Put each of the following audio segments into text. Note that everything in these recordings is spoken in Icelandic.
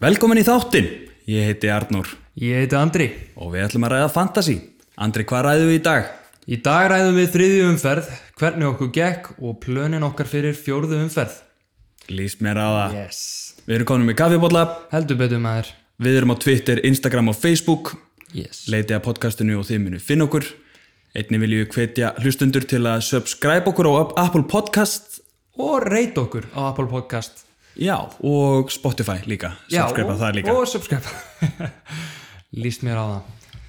Velkomin í þáttin, ég heiti Arnór Ég heiti Andri. og við ætlum að ræða fantasy. Andri, hvað ræðum við í dag? Í dag ræðum við þriðju umferð, hvernig okkur gekk og plönin okkar fyrir fjórðu umferð. Lýst mér á það. Yes. Við erum komin með kaffibólla, Heldur betur maður. við erum á Twitter, Instagram og Facebook. Yes. Leitið að podcastinu og þið munu finn okkur. Einnig viljum við hvetja hlustundur til að subscribe okkur á Apple Podcast. og reyta okkur á Apple Podcast. Já, og Spotify líka. Subscribe og, það líka. Og subscribe. Lýst mér á það.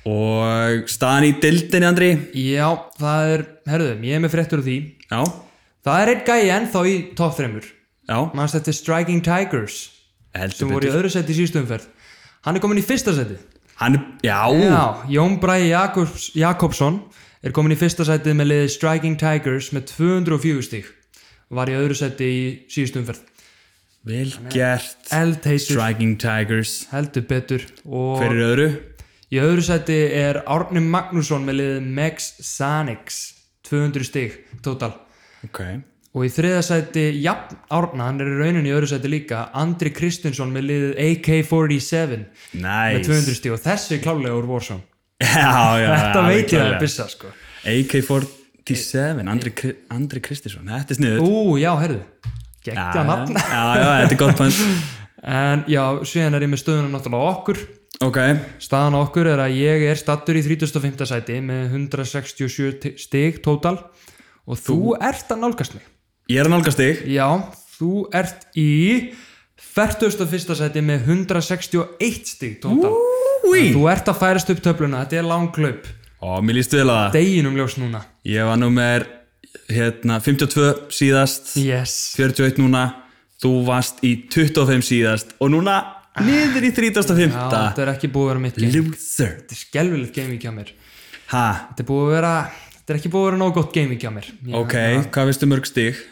Og staðan í dildinni, Andri. Já, það er, herðum, ég er með fréttur úr því. Já, Það er einn gæi ennþá í top 3. já, Manst þetta er Striking Tigers heldur sem voru í betur. öðru seti í síðustu umferð. Hann er komin í fyrsta seti. Hann, já, Já, Jón Bræði Jakobs, Jakobsson er komin í fyrsta sætið með liðið Striking Tigers með 204 stík var í öðru sæti í síðustu umferð vel gert. eldheitur, Striking Tigers. heldur betur og Hver er öðru? í öðru sæti er Árni Magnússon með liðið Mex Sanix 200 stík total Ok. og í þriða sæti, jafn Árna hann er í rauninni í öðru sæti líka Andri Kristinsson með liðið AK-47 með Nice. 200 stík og þessi er klálega úr Warzone já, já, þetta já, veit ég að klárlega. er byssa sko AK-47, Andri, Kri- Andri Kristisson Þetta er sniður Ú, já, herðu, geggja já, nafn já, þetta er gott pænt En já, síðan er ég með stöðuna náttúrulega á okkur Ok, Staðan á okkur er að ég er stattur í 35. sæti með 167 ti- stig tótal Og þú, ert að nálgast mig ég er að nálgast þig Já, þú ert í 41. sæti með 161 stig tótal Úi Þú ert að færast upp töfluna, þetta er langklaup Ó, mér líst vel að það Deginum ljós núna Ég var númer hérna, 52 síðast Yes 41 núna Þú varst í 25 síðast Og núna niður í Já, 35 þetta er ekki búið að vera mitt game Loser Þetta er skelvilegt game í mér Ha, Þetta er búið að vera Þetta er ekki búið að vera nóg gott gaming hjá mér Ég- ok, hvað veistu mörg stig?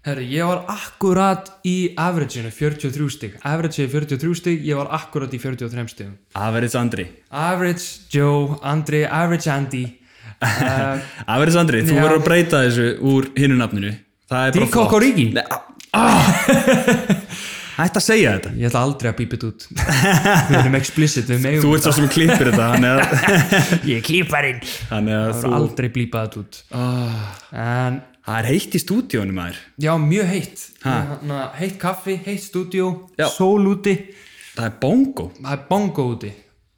Herru, ég var akkurat í averageinu 43 stig Average er 43 stig, ég var akkurat í 43 stigum Average Andri Average Joe, Andri, Average Andy uh, Average Andri, þú Já. verður að breyta þessu úr hinnu nafninu Það er bara Díko flott. Korigi Nei, á- Hætt að segja þetta Ég ætla aldrei að bípa þetta út Við erum explicit, við Þú megum ert svo sem klippir þetta Þannig að, Ég er klíparinn þannig að Það þú Ah. er aldrei bípa þetta út En Það er heitt í stúdíónu maður já, mjög heitt Hanna, Heitt kaffi, heitt stúdíó Já. Sól úti, Það er bongo, það er bongo úti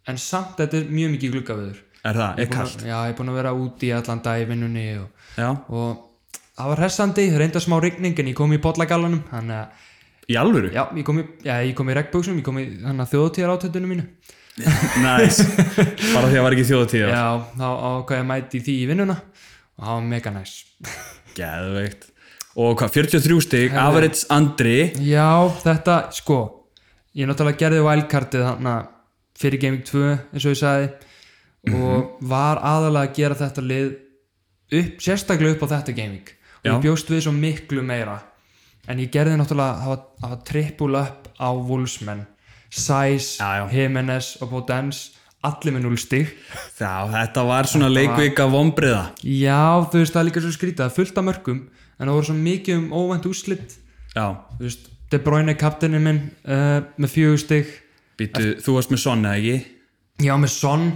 En samt þetta er mjög mikið gluggaveður er það, er kallt Já, ég er búin að vera úti í allan dag í vinnunni og, Já, og það var hressandi, reynda smá rigning en ég kom í bollagallanum þannig að, í alvöru já, ég kom í, já, ég kom í regnböksum, ég kom í þannig að þjóðtíðar átöndunum mínu Næs, bara því að var ekki þjóðatíða Já, þá ákvað ég að mæti því í vinnuna og það var mega næs Geðveikt Og hvað, 43 stig, Average Andri Já, þetta, sko ég náttúrulega gerði wildcardið þannig að fyrir Gaming 2, eins og ég sagði og Mhm. var aðalega að gera þetta lið upp, sérstaklega upp á þetta gaming og Já. ég bjóst við svo miklu meira en ég gerði náttúrulega það var- það var trippul upp á Wolfsmen Sæs, Já, já. Jimenez og Bodens, allir með 0 stig Já, þetta var svona leikvika vombriða Já, þú veist, það er líka svo skrítið það er fullt af mörgum, en það voru svo mikið um óvænt úslit Já, Þú veist, De Bruyne kaptinni minn uh, með fjögur stig býtu, þú varst með sonna, ekki? já með Son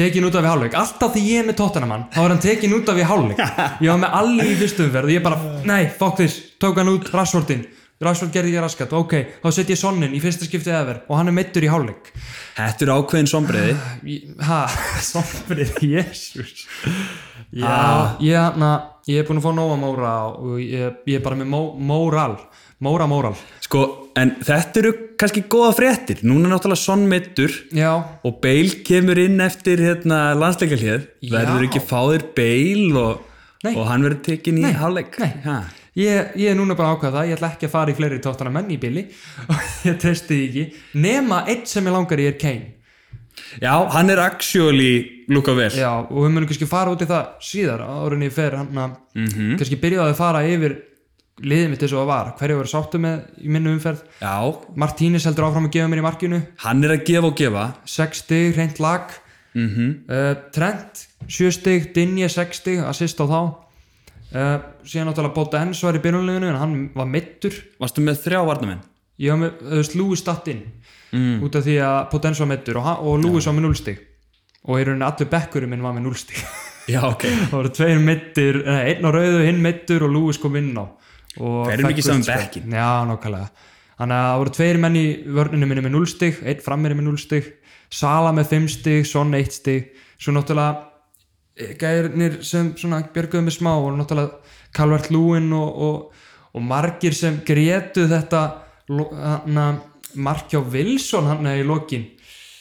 tekin út af í hálfleik, alltaf því ég er með Tottenhamann þá er hann tekin út af í hálfleik ég var með allir í fyrstu umferð og ég bara, nei, fokk þess tók hann út Rashfordin Rashford gerði ég raskat, ok, þá set ég Sonnin í fyrsta skiptið efer og hann er meittur í hálfleik Þetta er ákveðin sombriði Ég- ha, Sonnin, jésús já, ég, na, ég er búin að fá nóga móra og ég, ég er bara með mó, móral móra móral, Sko, en þetta eru kannski góða fréttir. Núna er náttúrulega Son meittur já og Bale kemur inn eftir hérna, landsleikalið. Já. Verður ekki fáðir Bale og, Nei. og hann verður tekinn í hálfleik. nei. Ha. Ég, ég er núna bara að ákveða það, ég ætla ekki að fara í fleiri tóttana menn í bili og ég treysti því ekki nema eitt sem ég langar í er Kane Já, hann er actually lúka vel. Já, og við munum kannski fara út í það síðar árunni ég fer hann að kannski byrjaði að fara yfir liðið mitt eins og það var, hverju voru sáttu með í minnu umferð, Já, Martínis heldur áfram að gefa mér í markinu, hann er að gefa og gefa. 6 stig, reynd lag mm Trent, 7 stig Dinje, 6 stig, assist á þá Eh, uh, síðan náttúrulega Bóta Enns var í byrjunleginu en hann var mittur Varstu með þrjá varnamenn? ég var með, þú veist, Lewis datt inn mm. út af því að Potens var meittur og, hann- og Lewis var með núlstig og í rauninni allur bekkurinn minn var með núlstig já, ok það voru tveir meittir, nei, einn á rauðu, hinn meittur og Lewis kom inn á Þeir Þeir eru mikið saman bekkinn. Já, nákvæmlega Þannig að það voru tveir menn í vörninu minni með 0 stig, einn frammeri með 0 stig Sala með 5 stig, Son 1 stig Svo náttúrulega eh, gærnir sem svona björguðu með smá og náttúrulega Calvert Lúin og, og, og margir sem grétu þetta lo- hana, mark hjá Wilson hann eh, í lokin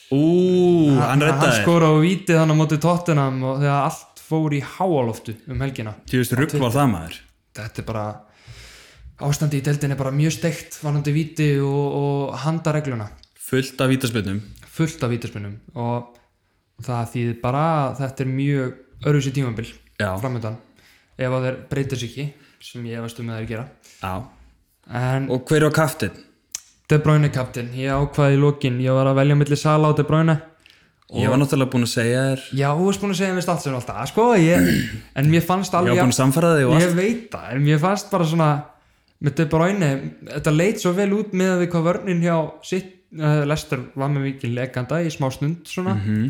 ú, hann hann reddaði skora á vítið hann á móti Tottenham og þegar allt fór í háaloftu um helgina þú veist, rugg var það maður þetta er bara ástandi í deildin er bara mjög steikt varandi víti og, og handaregluna fullt af vítaspöndum fullt af vítaspunum og það þýðir bara að þetta er mjög öruvísi tímabil Já. framöndan ef að þeir breytir sig ekki sem ég efast um að þeir gera já. en og hver var kaftinn? De Bruyne kaptinn, ég ákvaði í lokin ég var að velja milli Sala og De Bruyne ég var náttúrulega búin að segja þér ég já, þú veist búin að segja mér statsum alltaf sko, ég, en mér fannst alveg var búin að samfara þig og allt ég veit það, en mér fannst bara svona með De Bruyne, þetta leit svo vel út með að við hvað vörnin hjá sitt uh, Lester var með mikið leganda í smá snund svona Mhm.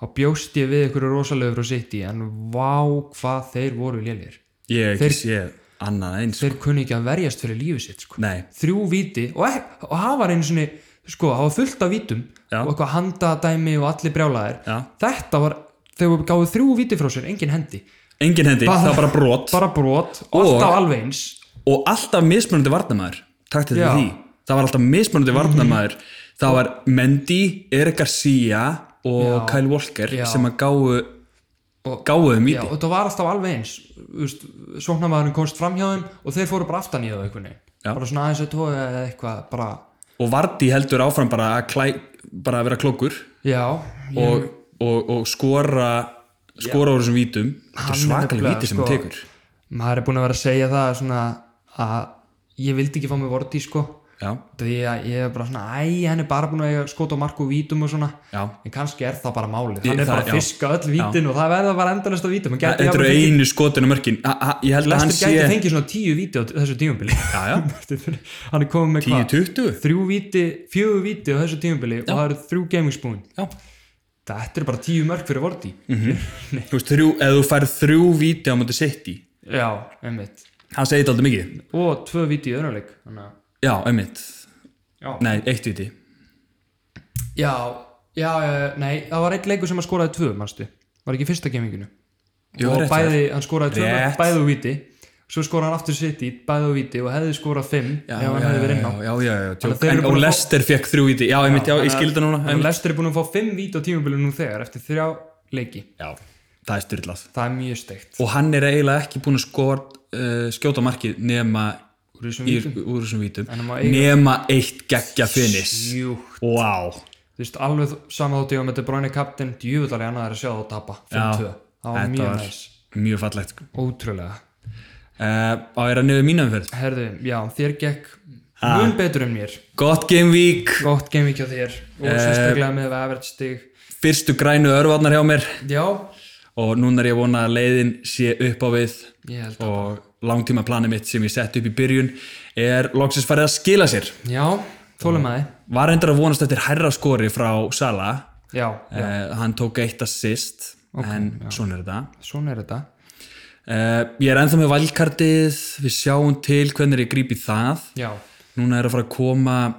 og bjóst ég við einhverju rosalegu frá sitt í en vá hvað þeir voru lélir ég hef ekki séð annað eins þeir kunni ekki að verjast fyrir lífið sitt sko. Sko. nei, þrjú viti og, ek- og hafa einu sinni sko, hafa fullt af vítum Já. og eitthvað handadæmi og allir brjálaðir Já. þetta var, þegar við gáðu þrjú viti frá sér engin hendi, engin hendi, Bara- það var bara brot bara brot og Og- alltaf alveg eins og alltaf mismunandi varnamæður takt þetta Já. því, það var alltaf mismunandi varnamæður það var Mendy, Erik Garcia og Já. Kyle Walker Já. sem að gáu Og- gáu þeim Já, víti og það var alltaf alveg eins Vist, Sóknarmaðurinn komst fram hjá þeim og þeir fóru bara aftan í það einhvernig Já. bara svona aðeins að tóa eða eitthvað bara, og Vardí heldur áfram bara að, klæ, bara að vera klokkur já, ég, og, og, og skora skora úr þessum vítum þetta er Hann er svakalega nefnilega, víti sem hann sko, tekur maður er búin að vera að segja það svona að ég vildi ekki fá mig vorti sko já, því að ég er bara svona, æ, hann er bara búin að eiga skot á marku vítum og svona já en kannski er það bara málið, Ég- hann er það- já. bara að fiska öll vítin og það verða bara endalist á vítum Hann gæti Þetta eru jafnvel fengið- einu skotin á mörkin Ha- ha- Ég held að hann Lester sé gæti fengið svona tíu víti á þessu tímabili Já, já. hann er komið með hvað 10-20 þrjú víti, fjögur víti á þessu tímabili og það eru þrjú gamingsbúin Já. þetta eru bara tíu mörg fyrir vorti Mm. Þú veist, þrjú, ef þú færð þrjú víti á móti City já, einmitt Hann segir þetta aldrei mikið og tvö víti í öðruleik þannig að- Já, einmitt Já. Nei, eitt viti já, já, eh, nei það var einn leikur sem að skoraði tvö, manstu var ekki í fyrsta gaminginu Jú, og rétt bæði, hann skoraði tvö, Rétt. mörk, bæði og víti svo skoraði hann aftur sitt í bæði og víti og hefði skorað fimm ef hann hefði verið inn á já, já, já, já, Þannig að djók. þeir eru en, búin Og að fá- Lester fekk þrjú víti Já, einmitt, já, ég skildi það núna en einmitt. Lester er búin að fá fimm víti á tímabili nú þegar eftir þrjá leiki Já, það er styrlað það er mjög steikt Og hann er eiginlega ekki búin að skor, uh, skjóta markið nema úr þessum í, vítum úr þessum vítum hann má eiga- nema eitt geggja finis Jú, Vá, þú veist, alveg sama þótt ég var með De Bruyne kaptinn, djúvöldalegi annað er að sjá það að tapa 5-2, það var þetta mjög var næs mjög fallegt uh, ótrúlega, Á ég að nefnir mínumferð herðu, já, þér gekk mun betur en mér, Gott game week, gott gamevík hjá þér og Eh, sérstaklega með average stig fyrstu grænu örvarnar hjá mér já, og núna er ég að vona að leiðin sé upp á við ég held að og langtíma planið mitt sem ég sett upp í byrjun er loksins farið að skila sér já, þólum að þið var endur að vonast eftir hærra skori frá Sala já, eh, hann tók eitt assist en svona er þetta svona er þetta eh, ég er ennþá með valkartið við sjáum til hvernig ég grípi það já, núna er að fara að koma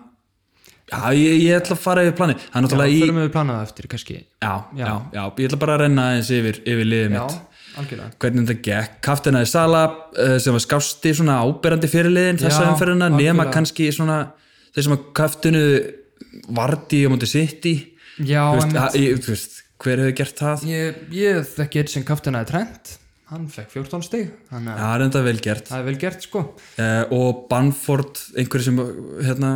já, ég, ég ætla að fara yfir planið það er náttúrulega í þurfum við planaða eftir, kannski já, já. Já, ég ætla bara að renna eins yfir, yfir liðið já, mitt algjörlega hvernig þetta gekk, kaftinaði Sala uh, sem var skásti svona áberandi fyrirliðin þessa Já, umferðina, nema algjörlega. kannski svona þeir sem að kaftinu Vardí og móti City já, Þú veist, en að- ég- þú veist, hver hefur gert það? ég, ég þekki eitt sem kaptinaði Trent hann fekk 14 stig, þannig að Já, það er enda vel gert það er vel gert sko uh, og Bamford, einhverju sem hérna,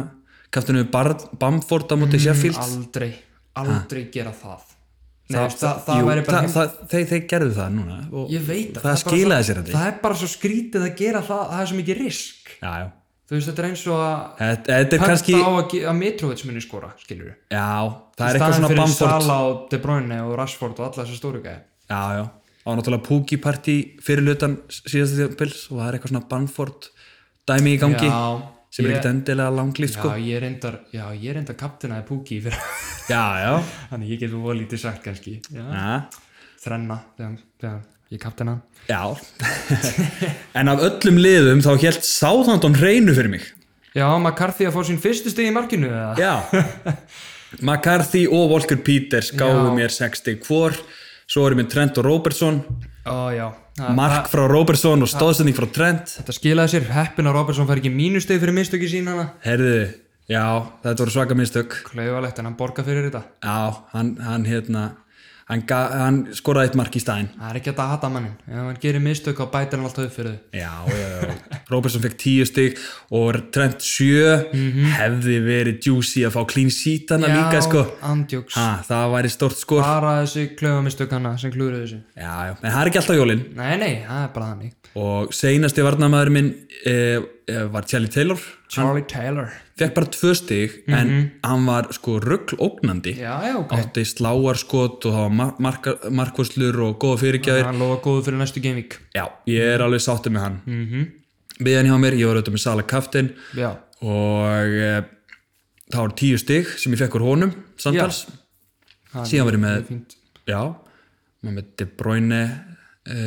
kaftinu Bar- Bamford á Mm, móti Sheffield aldrei, aldrei gera það Nei, það, það, það, það jú, væri bara það, heim... það, þeir, þeir gerðu það núna og ég veit að það er bara skilaði svo, sér aldrei. það er bara svo skrítið að gera það það er svo mikið risk já, já. þú veist þetta er eins og að Þetta, þetta er höfða kannski á að, ge- að Mitrovic muni skora skilur við já, það er eitthvað svona Bamford Sala og De Bruyne og Rashford og alla þessu stóru gæði Já, já. Það var náttúrulega Pookie Party fyrir lutan síðast því og það er eitthvað svona Banford dæmi í gangi já, sem er Ég- ekkert endilega langlýst sko. Já, ég reyndar, já, ég reyndar kaptinaði Pukki fyrir já, já, Þannig ég get þú að lítið sagt kannski já. já. Þrenna, þegar, þegar ég kaptina Já, en af öllum liðum þá hélt Southampton hreinu fyrir mig. Já, McCarthy að fá sín fyrstu stig í markinu eða? Já, McCarthy og Walker Peters gáðu Já. mér 60 hvor, svo erum við Trent og Robertson, Ó, já Þa- mark frá Robertson og stóðsending frá Trent. Þetta skilaði sér, heppin að Robertson fær ekki mínusteg fyrir mistöki sín hana Herðu, já, þetta voru svaka mistök. Klaufalegt, en hann borga fyrir þetta Já, hann, hann hérna, hann, ga- hann skoraði eitt mark í staðinn. Það er ekki hægt að hata mannin Ef hann gerir mistök á bætir hann alltaf upp fyrir þau Já, já, já. Robertson fekk 10 stig og Trent 7 hefði verið juicy að fá clean sheet hana líka sko. andjóks Ha, það væri stort skor. Bara þessi klaufamistök hana sem klúruðu þessu Já, já, en það er ekki alltaf jólinn Nei, nei, það er bara þannig og seinasti varnamæður minn e, e, var Charlie Taylor Charlie Taylor fekk bara tvö stig en hann var sko rugglóknandi Já, já, ok átti sláarskot og það var mar marka- markvörslur og góða fyrirgjæðir Hann lofa góðu fyrir næstu gamevík já, ég er alveg sáttið með hann mm Mhm. miðan hjá mér, ég var auðvitað með Sala Kaftin Já, og e, það voru tíu stig sem ég fekk úr honum samtals, það síðan var ég er með fínt já, maður með De Bruyne e,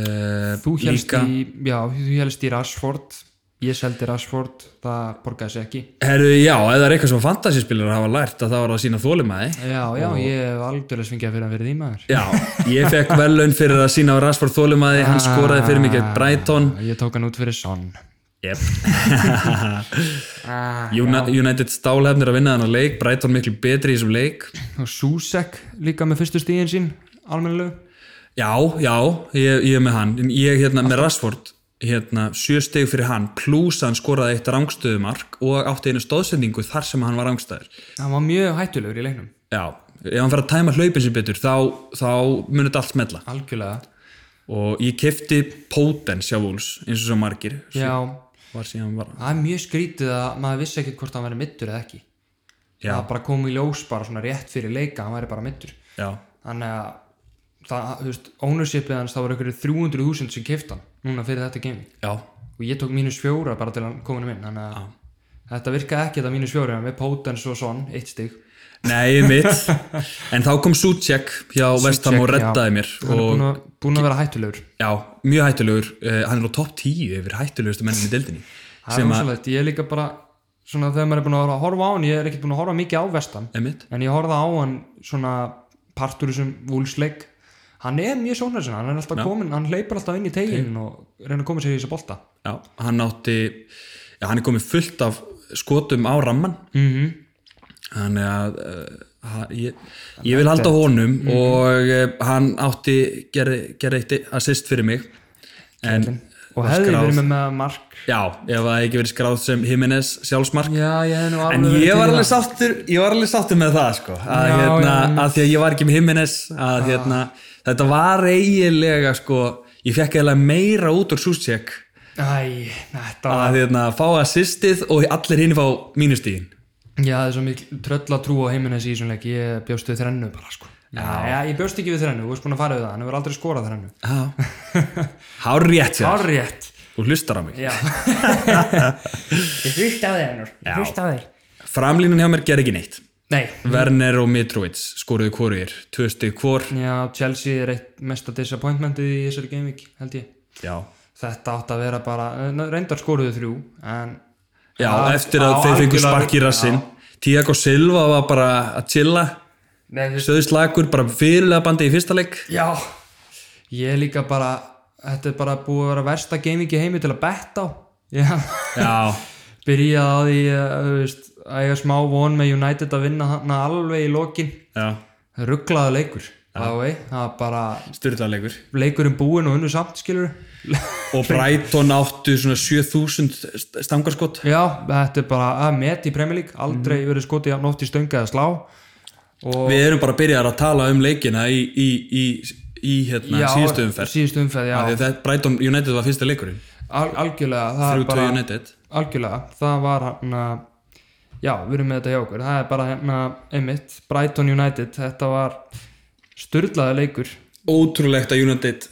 Þú helst í, já, þú helst í Rashford Ég seldi Rashford, það borgaði sér ekki Herru, já, ef það er eitthvað sem fantasyspilar hafa lært að það var að sína þólimaði Já, já, ég hef algjörlega svingjað fyrir að vera því maður Já, ég fekk velun fyrir að sína á Rashford þólimaði, Ah. hann skoraði fyrir mig gegn Brighton Ég tók hann út fyrir Son yep. ah, United stálhefnir að vinna þannig leik Brighton miklu betri í þessum leik Og Susek líka með fyrstu stíðin sín Almennilegu Já, já, ég, ég er með hann En Ég hérna með Rashford hérna, sjö steg fyrir hann, plús hann skoraði eitt rangstöðumark og átti einu stóðsendingu þar sem hann var rangstæður Hann var mjög hættulegur í leiknum Já, ef hann fer að tæma hlaupin sem betur þá, þá munið allt smella Algjörlega og ég kefti Potens hjá Wolves eins og svo margir Já, var síðan bara það er mjög skrítið að maður vissi ekki hvort hann væri middur eða ekki Já. Það bara kom í ljós bara svona rétt fyrir leika Hann væri bara middur já, Þannig að það, þú veist, ownershipið hans það var einhverju 300.000 sem kefti hann núna fyrir þetta gaming já, og ég tók mínus fjóra bara til hann kominum inn þannig að þetta virkaði ekki þetta mínus fjóra með Potens og Son, eitt stig nei mitt en þá kom Suchek hjá Vestham og já. reddaði mér hann er og búin að, búin að vera hættulegur já, mjög hættulegur uh, hann er á topp 10 yfir hættulegustu mennin í deildinni það er sem að, rosalegt, ég er líka bara svona þegar maður er búin að vera að horfa á hann ég er ekki búin að horfa mikið á vestan emitt en ég horfa á hann svona partur þessum vúlsleik hann er mjög sónarsinn, hann er alltaf komin hann hleypar alltaf inn í tegin og reynir að koma sér í þessa bolta já, hann átti já, hann er komið fullt af skotum á ramman mm -hmm. þannig að uh, ha- ég, ég vil halda honum Mhm. og uh, hann átti gerði, gerði eitt assist fyrir mig en og hefði skráð. verið með með mark Já, ef það hefði ekki verið skráð sem Jimenez sjálfsmark já, ég hef En nú alveg verið ég til í var, það. alveg sáttur, ég var alveg sáttur með það sko að, Já, hérna, já, Ah. já. að því að ég var ekki með Jimenez að hérna, þetta var eiginlega sko, ég fekk eiginlega meira út úr Susek Æ, þetta var að hérna, fá assistið og allir hinn fá mínustíðin Já, það er svo mikil tröllatrú á heiminnes í þessum leik Ég bjóst við þrennu bara sko Já, já ég bjóst ekki við þrennu, þú veist búin að fara við það Hann hefur aldrei skorað þrennu Hár rétt hér, Hárrétt þú hlustar á mig Já Ég hlusta á þig hennur, ég hlusta á þig Framlínan hjá mér ger ekki neitt Nei, Werner og Mitrovic skoruðu hvorugir, tvö stið hvor já, Chelsea er eitt mesta disappointmentið í þessari gameweek, held ég Já, Þetta átt að vera bara, eh, reyndar skoruðu þrjú En Já, Já, eftir að já, þeir fengu algjörlega. spark í rassinn Tiago Silva var bara að chilla Nei, þú Söðu slagur bara fyrirlega bandi í fyrsta leik Já Ég er líka bara, þetta er bara búið að vera versta gaming í heimi til að betta á Já Já, byrjaði á því eh, þú veist, að ég smá von með United að vinna hana alveg í lokin já, rugglaða leikur ja. vei, það var bara styrla leikur leikurinn búinn og unnu samt skilur Og Brighton áttu svona 7000 st- stangarskot já, þetta er bara að met í Premier League aldrei Mhm. verið skotið jafn oft í stönga eða slá og Við erum bara byrjar að tala um leikina í, í, í, í hérna, síðustu umferð síðustu umferð, já, Þegar þetta- Brighton United var fyrsta leikurinn Al algjörlega það er 3-2 bara, United algjörlega, það var hann já, við erum með þetta hjá okkur það er bara hérna, einmitt, Brighton United þetta var styrlaða leikur Ótrúlegt að United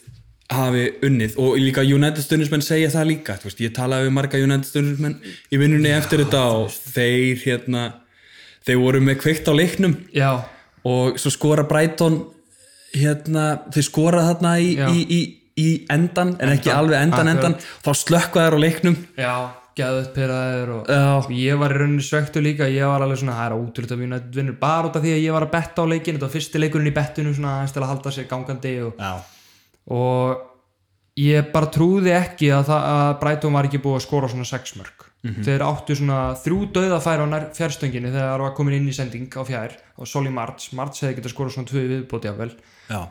hafi unnið og líka United Stunismenn segja það líka þú veist, ég talaði við marga United Stunismenn í vinnunni eftir þetta og þeir hérna, þeir voru með kveikt á leiknum já, og svo skora Brighton hérna, þeir skora þarna í, Já. í, í, í endan en ekki alveg endan akkurat. endan, þá slökka þær á leiknum já, gæðuð pyrraður og Já. ég var í rauninni svektu líka ég var alveg svona, það er ótrúlega að United vinnur bara út af því að ég var að betta á leikin þetta var fyrsti leikurinn í bettinu svona aðeins til að halda sér gangandi og, Já. og ég bara trúði ekki að, það, að Brighton var ekki búið að skora svona sex mörg Mhm. þeir áttu svona þrjú döða færa á nær- fjarstönginu þegar það var komin inn í sending á fjær og Soli March, March hefði getað skorað svona tvö viðbóti af vel Já.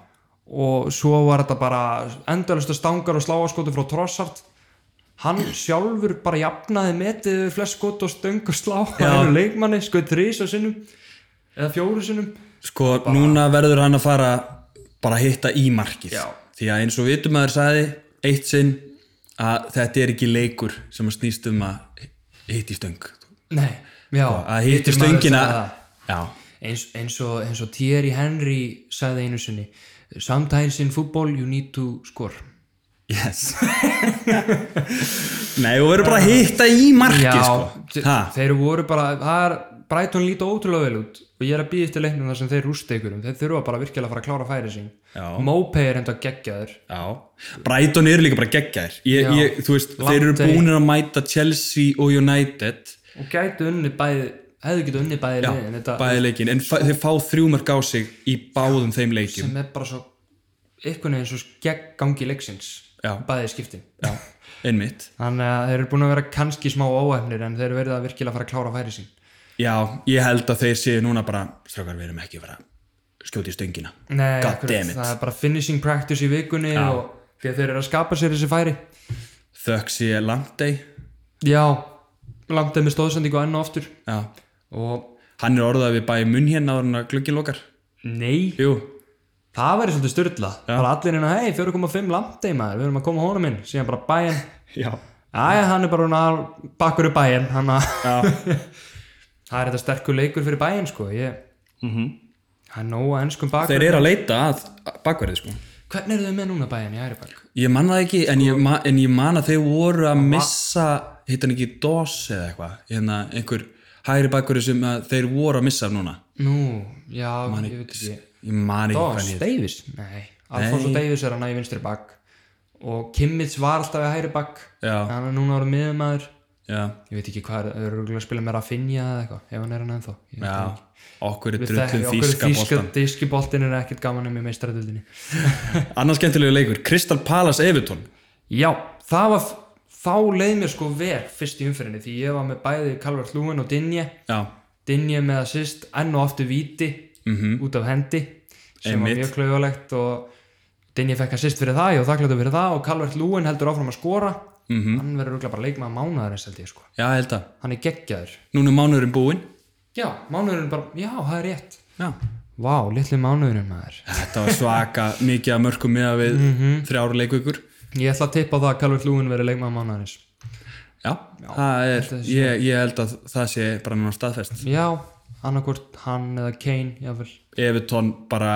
og svo var þetta bara endalista stangar og sláaskotu frá Trossart hann sjálfur bara jafnaði metið yfir flest skot og stöng og slá Já. hann leikmanni, skoði þrís á sinnum eða fjóru sinnum Sko, núna verður hann að fara bara að hitta í markið Já. því að eins og vitumæður sagði eitt sinn að þetta er ekki leikur sem að snýst um að hitta í stöng nei, já, Sko, að hitta í hitti maður stöngina sagði það. Já, eins, eins og, eins og Thierry Henry sagði einu sinni sometimes in football you need to score yes Nei, og verður bara að hitta í markið þe- sko. Ha. þeir voru bara það er, Brighton líta ótrúlega vel út og ég er að býða eftir leiknum þar sem þeir rústa ykkur um þeir þurfa bara virkilega að fara að klára færi Já. sín Mopey er enda geggjaður Já, Brighton eru líka bara geggjaðir ég, Já. ég, þú veist, Lamptey. þeir eru búinir að mæta Chelsea og United og gætu unni bæði hefðu getið unni bæði liðin þetta bæði leikin, en fæ, þeir fá þrjú mörg á sig í báðum þeim leikim sem er bara svo einhvern veginn svo gegn gangi leiksins Já. bæði skiptin einmitt, þannig að þeir eru búin að vera kannski smá óæfnir en þeir eru verið að virkilega fara að klára færi sín já, ég held að þeir séu núna bara, strákar, við erum ekki að fara að skjóta í stöngina Nei, God akkurat, damn it. það er bara finishing practice í vikunni og því að þeir eru að skapa sér þessi færi þökk sé Lamptey já, langt eða með stóðsendingu enn og aftur já. og hann er orðað við bæði munn hérna áður en að glöggin lokar nei, jú, það væri svolítið styrla bara allir hérna, hei, 4,5 langt eða maður við erum að koma honum inn, síðan bara bæinn já, Æja, hann er bara hún að bakkur í bæinn hann að já. það er þetta sterkur leikur fyrir bæinn sko ég það er nóg að ennskum bakkur Mhm. þeir eru að leita að bakverðið sko hvernig eru þau með núna bæinn í Æribakk? Ég man það ekki, en ég, ma en ég man að þeir voru að missa, hitt hann ekki DOS eða eitthvað, hérna einhver hægri bakkuri sem að þeir voru að missa af núna. nú, já, ég veit ekki Ég man ekki hvað Dós, hann hétt. Davis? nei, Alfonso Davis er hann í vinstri bakk og Kimmich var alltaf í hægri bakk Já. hann er núna orðið miðumæður Já, ég veit ekki hvað, er- þau eru örugglega að spila með Rafinha eða eitthvað, ef hann er hann ennþá Ég veit já, það ekki. okkur er Við þekkjum drullum okkur þýska þýska bóstan. diskiboltin er ekkert gaman um í meistaradöldinni Annars skemmtilegu leikur, Crystal Palace Everton. Já, það var þá leið mér sko ver fyrst í umfyrinni því ég var með bæði Calvert Lúin og Dinje Já, Dinje með að sýst enn og aftur víti -hmm. út af hendi sem Mhm. Einmitt. var mjög klauðalegt og Dinje fekk að sýst fyrir það, ég var þakklættu fyrir það og Calvert Lúin heldur áfram að skora Mhm. -hmm. hann verður rúglega bara leikmaður mánuðarins held ég sko já, ég held að. hann er geggjaður Núna er mánuðurinn búinn. Já, mánuðurinn bara, já, það er rétt Já. Vá, litli mánuðurinn maður Þetta var svaka mikið að mörgum miða við mm -hmm. þrjára leikvíkur. Ég ætla að tippa á það að Calvert Lúin verður leikmaður mánuðarins Já, það er, ég, ég held að það sé bara núna staðfest. Já, annarkvort hann eða Kane, jáfnvel Everton bara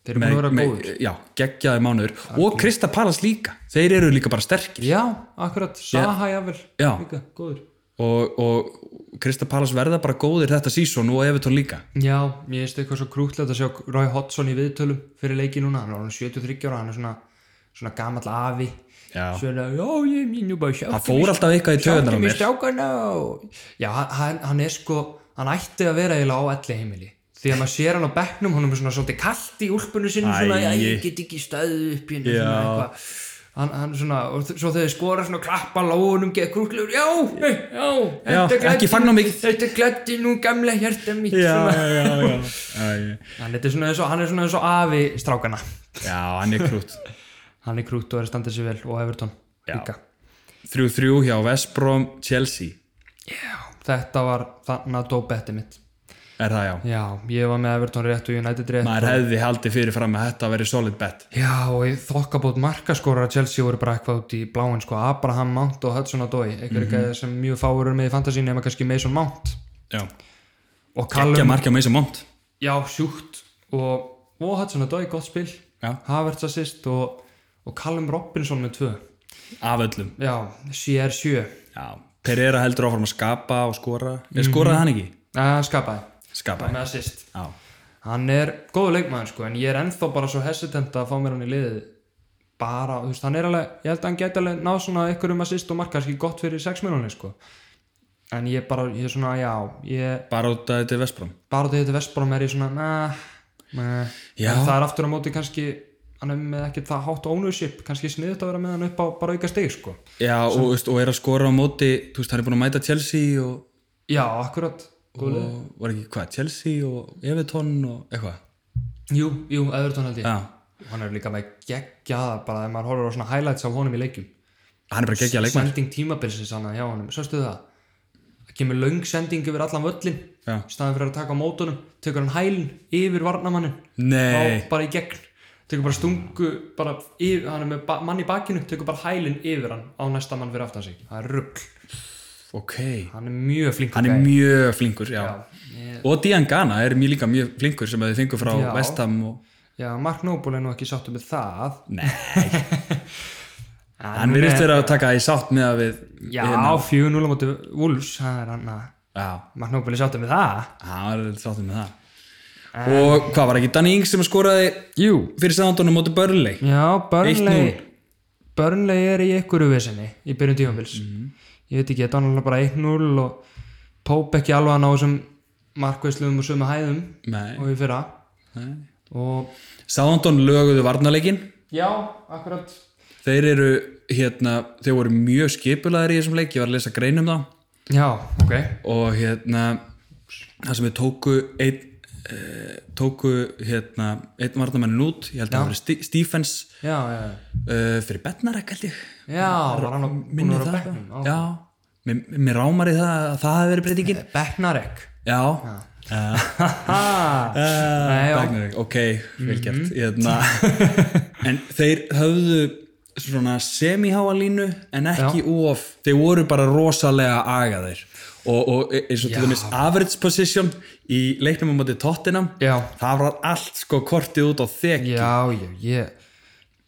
Þeir eru búin að vera góður já, geggjaði mánuður og Krista Palas líka, þeir eru líka bara sterkir Já, akkurat, Saha jáfnvel Já. Líka, góður og, og Krista Palas verða bara góðir þetta sísón og Evertón líka Já, ég veist eitthvað svo krútlegt að sjá Roy Hodgson í viðtölum fyrir leiki núna hann er orðin 73 ára, hann er svona svona gamall afi Já. Svona, já, ég er nú bara sjátt það fór alltaf eitthvað í töðunar á Sjátti mig mér stjákana og... Já, hann, hann er sko hann ætti að vera eiginlega á elli heimili því að maður sér hann á bekknum, hann er svona svolítið kallt í úlpunni sinni, svona, Æi. "Æ, ég get ekki stöðu upp hérna, svona Já. eitthvað hann, hann svona, og þ- svo þegar þið skora svona klappa lóðunum, geða krúklegur, já já, já, Já, þetta ekki gladdi- fagna mikið. þetta glætti nú gamla hjarta mitt svona. já, já, já, hann, þetta er svona eins og, hann er svona eins og afi strákana já, hann er krút hann er krút og er að standa sér vel og Everton Já. líka 3-3 hjá Vestbrom, Chelsea þetta var þannig að dó betti mitt er það já, Já, ég var með Everton rétt og United rétt maður hefði haldið fyrir fram að þetta veri solid bet Já, og í þokkabót markaskórar að Chelsea voru bara eitthvað út í bláin sko, Abraham Mount og Hudson Odoi einhverjir Mhm. mm sem mjög fáur eru með í fantasíni nema kannski Mason Mount já, og ekki Callum, að markja með þessu mont já, sjúkt og, og Hudson Odoi, gott spil Já. Havertz assist og, og Callum Robinson með 2 af öllum já, CR7 já. Pereira heldur áfram að skapa og skora ég skoraði hann ekki, að skapaði, skapaði með assist já. hann er góðu leikmaður sko en ég er ennþá bara svo hesitant að fá mér hann í liðið bara, þú veist, hann er alveg ég held að hann geti alveg náð svona ykkur um assist og marka kannski gott fyrir 6 minúni sko en ég bara, ég er svona, já ég bara út að þetta er Vesprám bara þegar þetta Vestbrom er ég svona nah, nah. Já. en það er aftur á móti kannski hann er með ekkert það hátt ownership kannski sniðut að vera með hann upp á bara auka stig sko. já, og, veist, og er að skora á móti þú veist, hann er búin að mæta Chelsea og, já, akkurat og var ekki hvað, Chelsea og Everton og eitthvað jú, jú, Everton held ég já. og hann er líka með geggjaða bara þegar maður horfir á svona highlights af honum í leikjum hann er bara geggja leikmann sending tímabilsins hann hjá honum, sástu það það kemur löng sending yfir allan völlin Já. staðan fyrir að taka á mótunum tekur hann hælinn yfir varnamannin nei, á, bara í gegn tekur bara stungu bara yfir, hann er með ba mann í bakinu tekur bara hælinn yfir hann á næsta mann fyrir aftan sig það er rugg, ok hann er mjög flink hann er mjög flinkur, já, mjög og Dian Gana er mjög líka mjög flinkur sem að þið fengur frá Já. Vestam og... já, Mark Noble er nú ekki sáttu með það nei, hann virðist vera að taka í sátt með að við já, hérna. 4-0 á móti Wolves það er hann að já, Mark Noble er sáttu með það hann var eitthvað sáttum með það og hvað var ekki Danny Ings sem skoraði jú, fyrir Sandónum móti Börnley já, 1-0. Burnley Burnley er í einhverju vissinni í byrjun tífambils ég veit ekki, þetta var náttúrulega bara 1-0 og Póp ekki alveg að ná þessum markveðsluðum og sömu hæðum nei, og í fyrra nei. og Sandón löguðu varnarleikin já, akkurat þeir eru hérna, þeir voru mjög skipulaðir í þessum leik, ég var að lesa grein um þá já, ok og hérna það sem við tóku einn eh, tóku hérna einn varnamennin út, ég held að það fyrir Stephens já, já, uh, fyrir Bednarek held ég já, var hann að búin minni að vera á það bekknum já, mér, mér rámar í það að það hafi verið breytingin Bekknarek já, já. ha, Nei, já. Mhm. Ragnarök, ok, vel gert hérna. en þeir höfðu svona semiháa línu en ekki of, þeir voru bara rosalega agaðir og, og e, eins og til dæmis average position í leiknum á móti tóttinam já, það var allt sko kortið út á þeg já, já, ég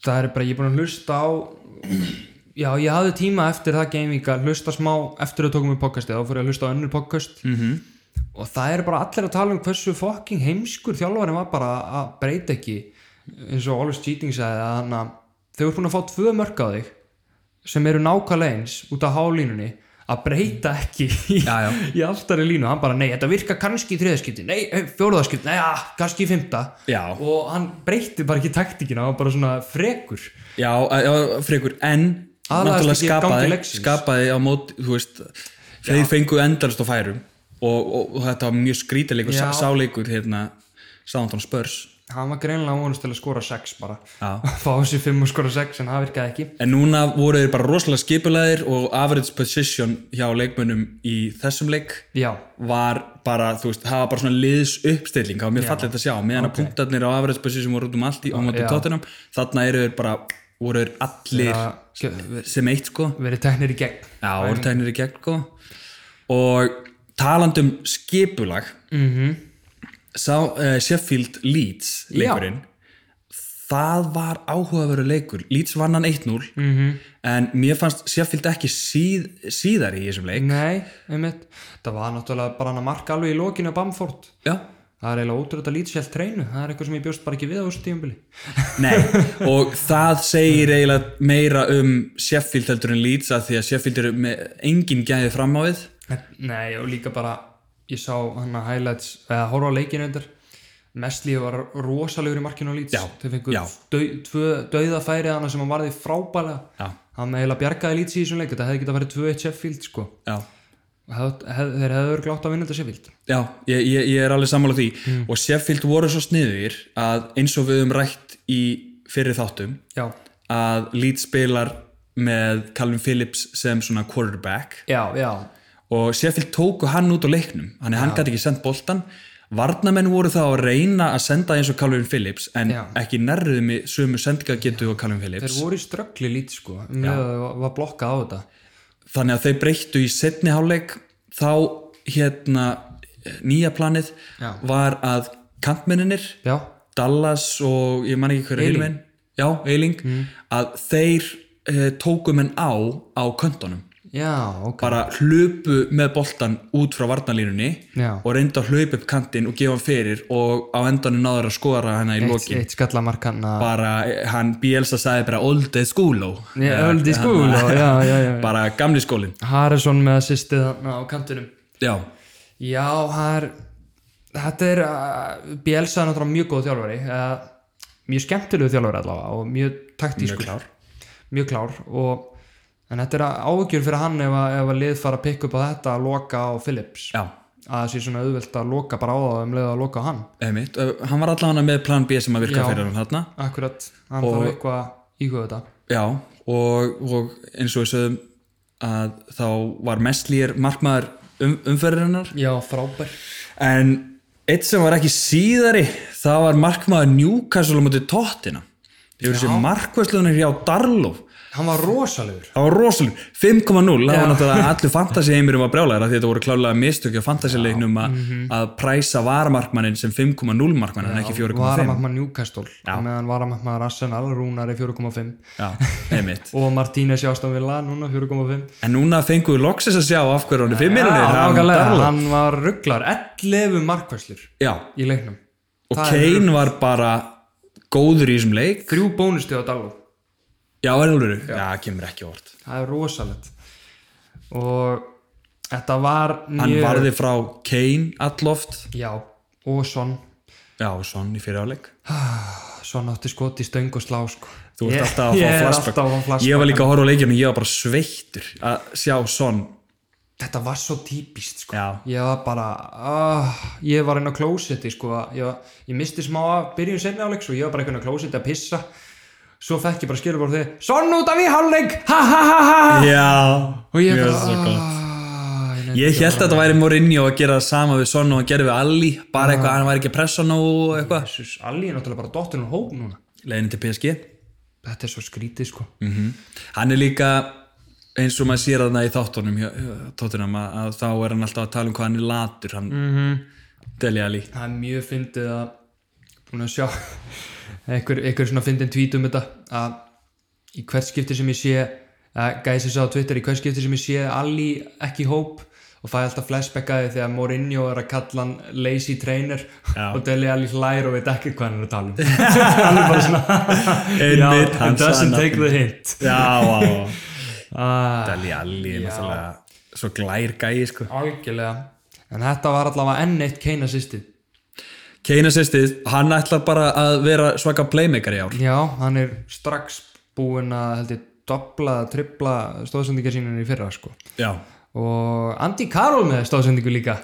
það er bara, ég er búin að hlusta á já, ég hafði tíma eftir það gaming að hlusta smá eftir að tókum við podcastið, þá fyrir að hlusta á önnur podcast Mhm. -hmm. og það er bara allir að tala um hversu fucking heimskur þjálfarinn var bara að breyta ekki eins og Oliver Cheating sagði að hann að þau eru búin að fá tvö mörg á þig sem eru nákvæmlega eins út af hálínunni að breyta ekki í, Já, já. í alltari línu, hann bara nei, þetta virka kannski í þriðaskipti, nei, fjóruðaskipti nei, ah, kannski í fymta Já. og hann breytti bara ekki taktíkina, hann var bara svona frekur já, að- já frekur, en Aðlagast náttúrulega ekki gangi skapaði, leiksins. skapaði á móti, þú veist þeir fengu endalist á færum og, og, og þetta var mjög skrítileikur Já. sáleikur hérna, Sándón Spurs hann var greinlega vonast til að skora 6 bara Já. fá sér 5 og skora 6 en það virkaði ekki En núna voru þeir bara rosalega skipulæðir og average position hjá leikmönnum í þessum leik já, var bara, þú veist, það var bara svona liðs uppstilling, það var mjög fallegt að sjá meðan að punktarnir á average position voru út um allt í ámöndu Já. tóttunum, þarna eru þeir bara voru þeir allir það sem eitt sko, verið teknir í gegn já, voru tegnir í gegn sko og talandum skipulag mm -hmm. sá uh, Sheffield Leeds leikurinn það var áhugaveru leikur Leeds vann hann 1-0 -hmm. en mér fannst Sheffield ekki síð, síðar í þessum leik nei, einmitt það var náttúrulega bara hann að marka alveg í lokinu á Bamford já. það er eiginlega ótrúlega lítisjælt treinu það er eitthvað sem ég bjóst bara ekki við á þessu tíumbili Nei, og það segir eiginlega meira um Sheffield heldur en Leeds að því að Sheffield eru með engin gæði fram á við Nei, og líka bara ég sá hann að highlights eða horfa á leikinu endur Mestlíð var rosalegur í markinu á lít Já, þau fengur já. döi, tvö döiðafæri hann sem hann varði frábælega Já. hann eiginlega bjargaði lít í þessum leik þetta hefði getað farið 2-1 Sheffield sko Já, hef, hef, þeir hefðu örglátt að vinna þetta Sheffield já ég, ég, ég er alveg sammála því Mm. og Sheffield voru svo sniðir að eins og við höfum rætt í fyrir þáttum Já, að Leeds spilar með Calvin Phillips sem svona quarterback já, já, og Sheffield tóku hann út á leiknum hann, hann gæti ekki sendt boltan varnamenn voru þá að reyna að senda eins og Calvin Phillips en Já. ekki nærriðu með sömu sendinga og Calvin þeir Phillips voru í ströggli lít sko um leið að það var blokkað á þetta þannig að þau breyttu í setni hálfleik þá hérna nýja planið Já. var að kantmenninir Já, Dallas og ég man ekki hverju Eiling. hinum Mm. einn já, Eiling að þeir uh, tóku menn á á köntunum já, ok bara hlupu með boltan út frá varnalínunni Já. og reyndu að hlupa upp kantinn og gefa hann fyrir og á endanum náður að skora hana í eitt, lokin eitt skallamark hann að bara eh, hann Bielsa sagði bara old is school Já, old is cool, já, já, já, já. bara gamli skólin Harrison með assistið þarna á kantinum já, já, það er þetta er uh, Bielsa er náttúrulega mjög góð þjálfari uh, mjög skemmtilegu þjálfari allavega og mjög Mjög taktískur klár. mjög klár og en þetta er ágjör fyrir hann ef að, ef að lið fara að pikka upp á þetta að loka á Phillips já, að það sé svona auðvelt að loka bara á það um leið að loka á hann einmitt Eh, hann var allavega með plan B sem að virka Já. fyrir hann þarna akkurat, hann og... Og- þarf eitthvað að íhuga þetta Já, og, og eins og við sögum að þá var mestlýr markmaður um, umferðarinnar já, frábær en eitt sem var ekki síðari það var markmaður Newcastle á móti tóttina yfir þessi markvæslunar hjá Darlof hann var rosalegur það var rosalega, 5,0 það var náttúrulega allir fantasi heimurum að brjálæra því þetta voru klálega mistökja fantasileiknum að, Mhm. að præsa varamarkmannin sem 5,0 markmann en ekki 4,5 varamarkmann Newcastle á meðan varamarkmann Arsenal, Rúnar er 4,5 Já, einmitt og Martínez í Aston Villa núna 4,5 en núna fengum við loksins að sjá af hverju hann er 5 Já, minunir nákvæmlega, hann var rugglar 11 markvæslur Já, í leiknum og Það er Kane var bara góður í þessum leik þrjú bónusti á Dalú já, er alveg, já, kemur ekki orð það er rosalegt og þetta var hann mjög- varði frá Kane alloft já, og Son já, svona í fyriráleik Son átti skot í stöng og slá sko. þú ert Ég- alltaf að ég fá er flashback. alltaf að fá flashback. ég var líka að horfa á leikinu, ég var bara sveittur að sjá svona þetta var svo típist sko. Já. ég var bara uh, ég var inn á klósetti sko. ég, var- ég misti smá að byrjun senni áleik og ég var bara inn á klósetti að pissa svo fekk ég bara skilur bara þig Son út af í hálfleik ha ha ha ha ha." já, og ég mjög bara svo gott "Ah, ég nefndi Ég held að þetta væri Mourinho að gera það sama við Son og hann gerði við Alli, bara eitthvað, hann væri ekki að pressa nóg og eitthvað. Jesus, Alli er náttúrulega bara dottirinn úr hóp núna Leiðin til PSG. Þetta er svo skrítið sko Mm. Hann er líka, eins og maður sér þarna í þáttunum, hjá- hjá- þáttunum að, að þá er hann alltaf að tala um hvað hann er latur, hann mm Mhm. -hmm. Deli Alli. Það er mjög fyndið að búin að sjá einhver, einhver svona fyndin tweet um þetta að í hvert skipti sem ég sé að gæði sér sá á Twitter í hvert skipti sem ég sé Alli ekki í hóp og fæði alltaf flashback að því þegar Mourinho er að kalla hann lazy trainer Já. og Deli Alli hlær og veit ekki hvað hann er að tala um hann er bara svona Einmitt, "Já, hann it doesn't sagði take the hint Já, já. ah, Deli Alli er náttúrulega svo glær gæi, sko. algjörlega en þetta var allavega enn eitt Kane assistið Keina sýstið, hann ætlar bara að vera svaka playmaker í ár. Já, hann er strax búinn að held ég dobla, tripla stóðsendingar sínunni í fyrra sko. Já. og Andi Karol með stóðsendingu líka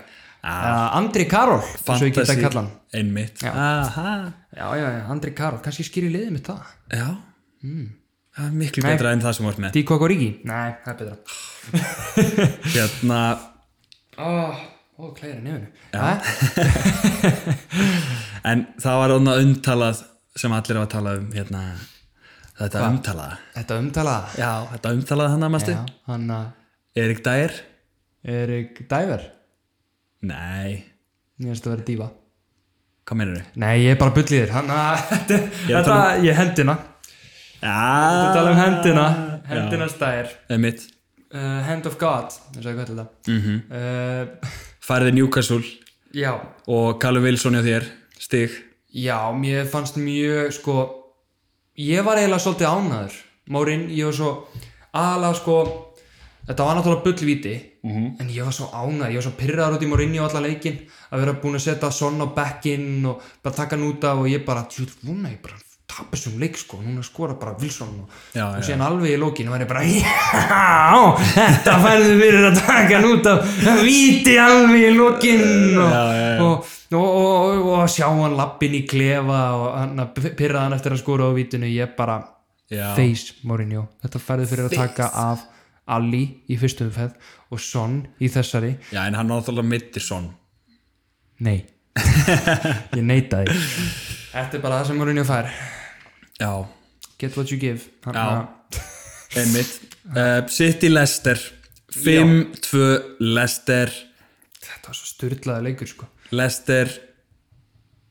ah. Andri Karol svo ég geta að kalla hann Einmitt. Aha. Já, já, já, Andri Karol, kannski skýri liðið mitt það Já. Hmm. Það er miklu betra en það sem vart með. Díko Koríki? Nei, það er betra Hérna, oh, Ó, klæðir í nefnu Já, En það var þarna umtalað sem allir var að tala um hérna, þetta umtalaða. þetta umtalaða Já, þetta umtalaða hann að mestu. Já, hann að Erik Dær? Erik Dæver Nei, Mér finnst það að vera dífa hvað meinar þau? Nei, ég er bara bullið þér Hann að, þetta, Ég er að um- þetta, ég hendina Þetta Já, tala um hendina Hendina stær eða mitt. uh, Hand of God eins og ég kallar það mm -hmm. Færði Newcastle já, og Callum Wilson hjá þér, stig. já, mér fannst mjög sko, ég var eiginlega svolítið ánaður, Márin, ég var svo aðalega sko þetta var náttúrulega bullvíti Mhm. -hmm. en ég var svo ánaður, ég var svo pyrraður út í Márinni og alla leikinn að vera búin að setja sonn á bekkinn og bara taka hann út af og ég bara, tjúl, vona ég bara tapa þessum leik sko, núna skora bara Wilson og, Já, og já. síðan alveg í lókinu var ég bara já, þetta færðu fyrir að taka hann út af víti alveg í lókinu og, Já, já, já. og, og, og, og, og sjá hann lappin í klefa og hann að pyrra hann eftir að skora á vítinu ég bara, Já. face Mourinho þetta færðu fyrir að taka af Ali í fyrstu umferð og Son í þessari, Já, en hann var náttúrulega mittir son. nei ég neita því þetta er bara það sem Mourinho fær Já, get what you give hann, Já. eða mitt. Uh, City Leicester, 5-2 Leicester, þetta var svo styrlaði leikur sko Leicester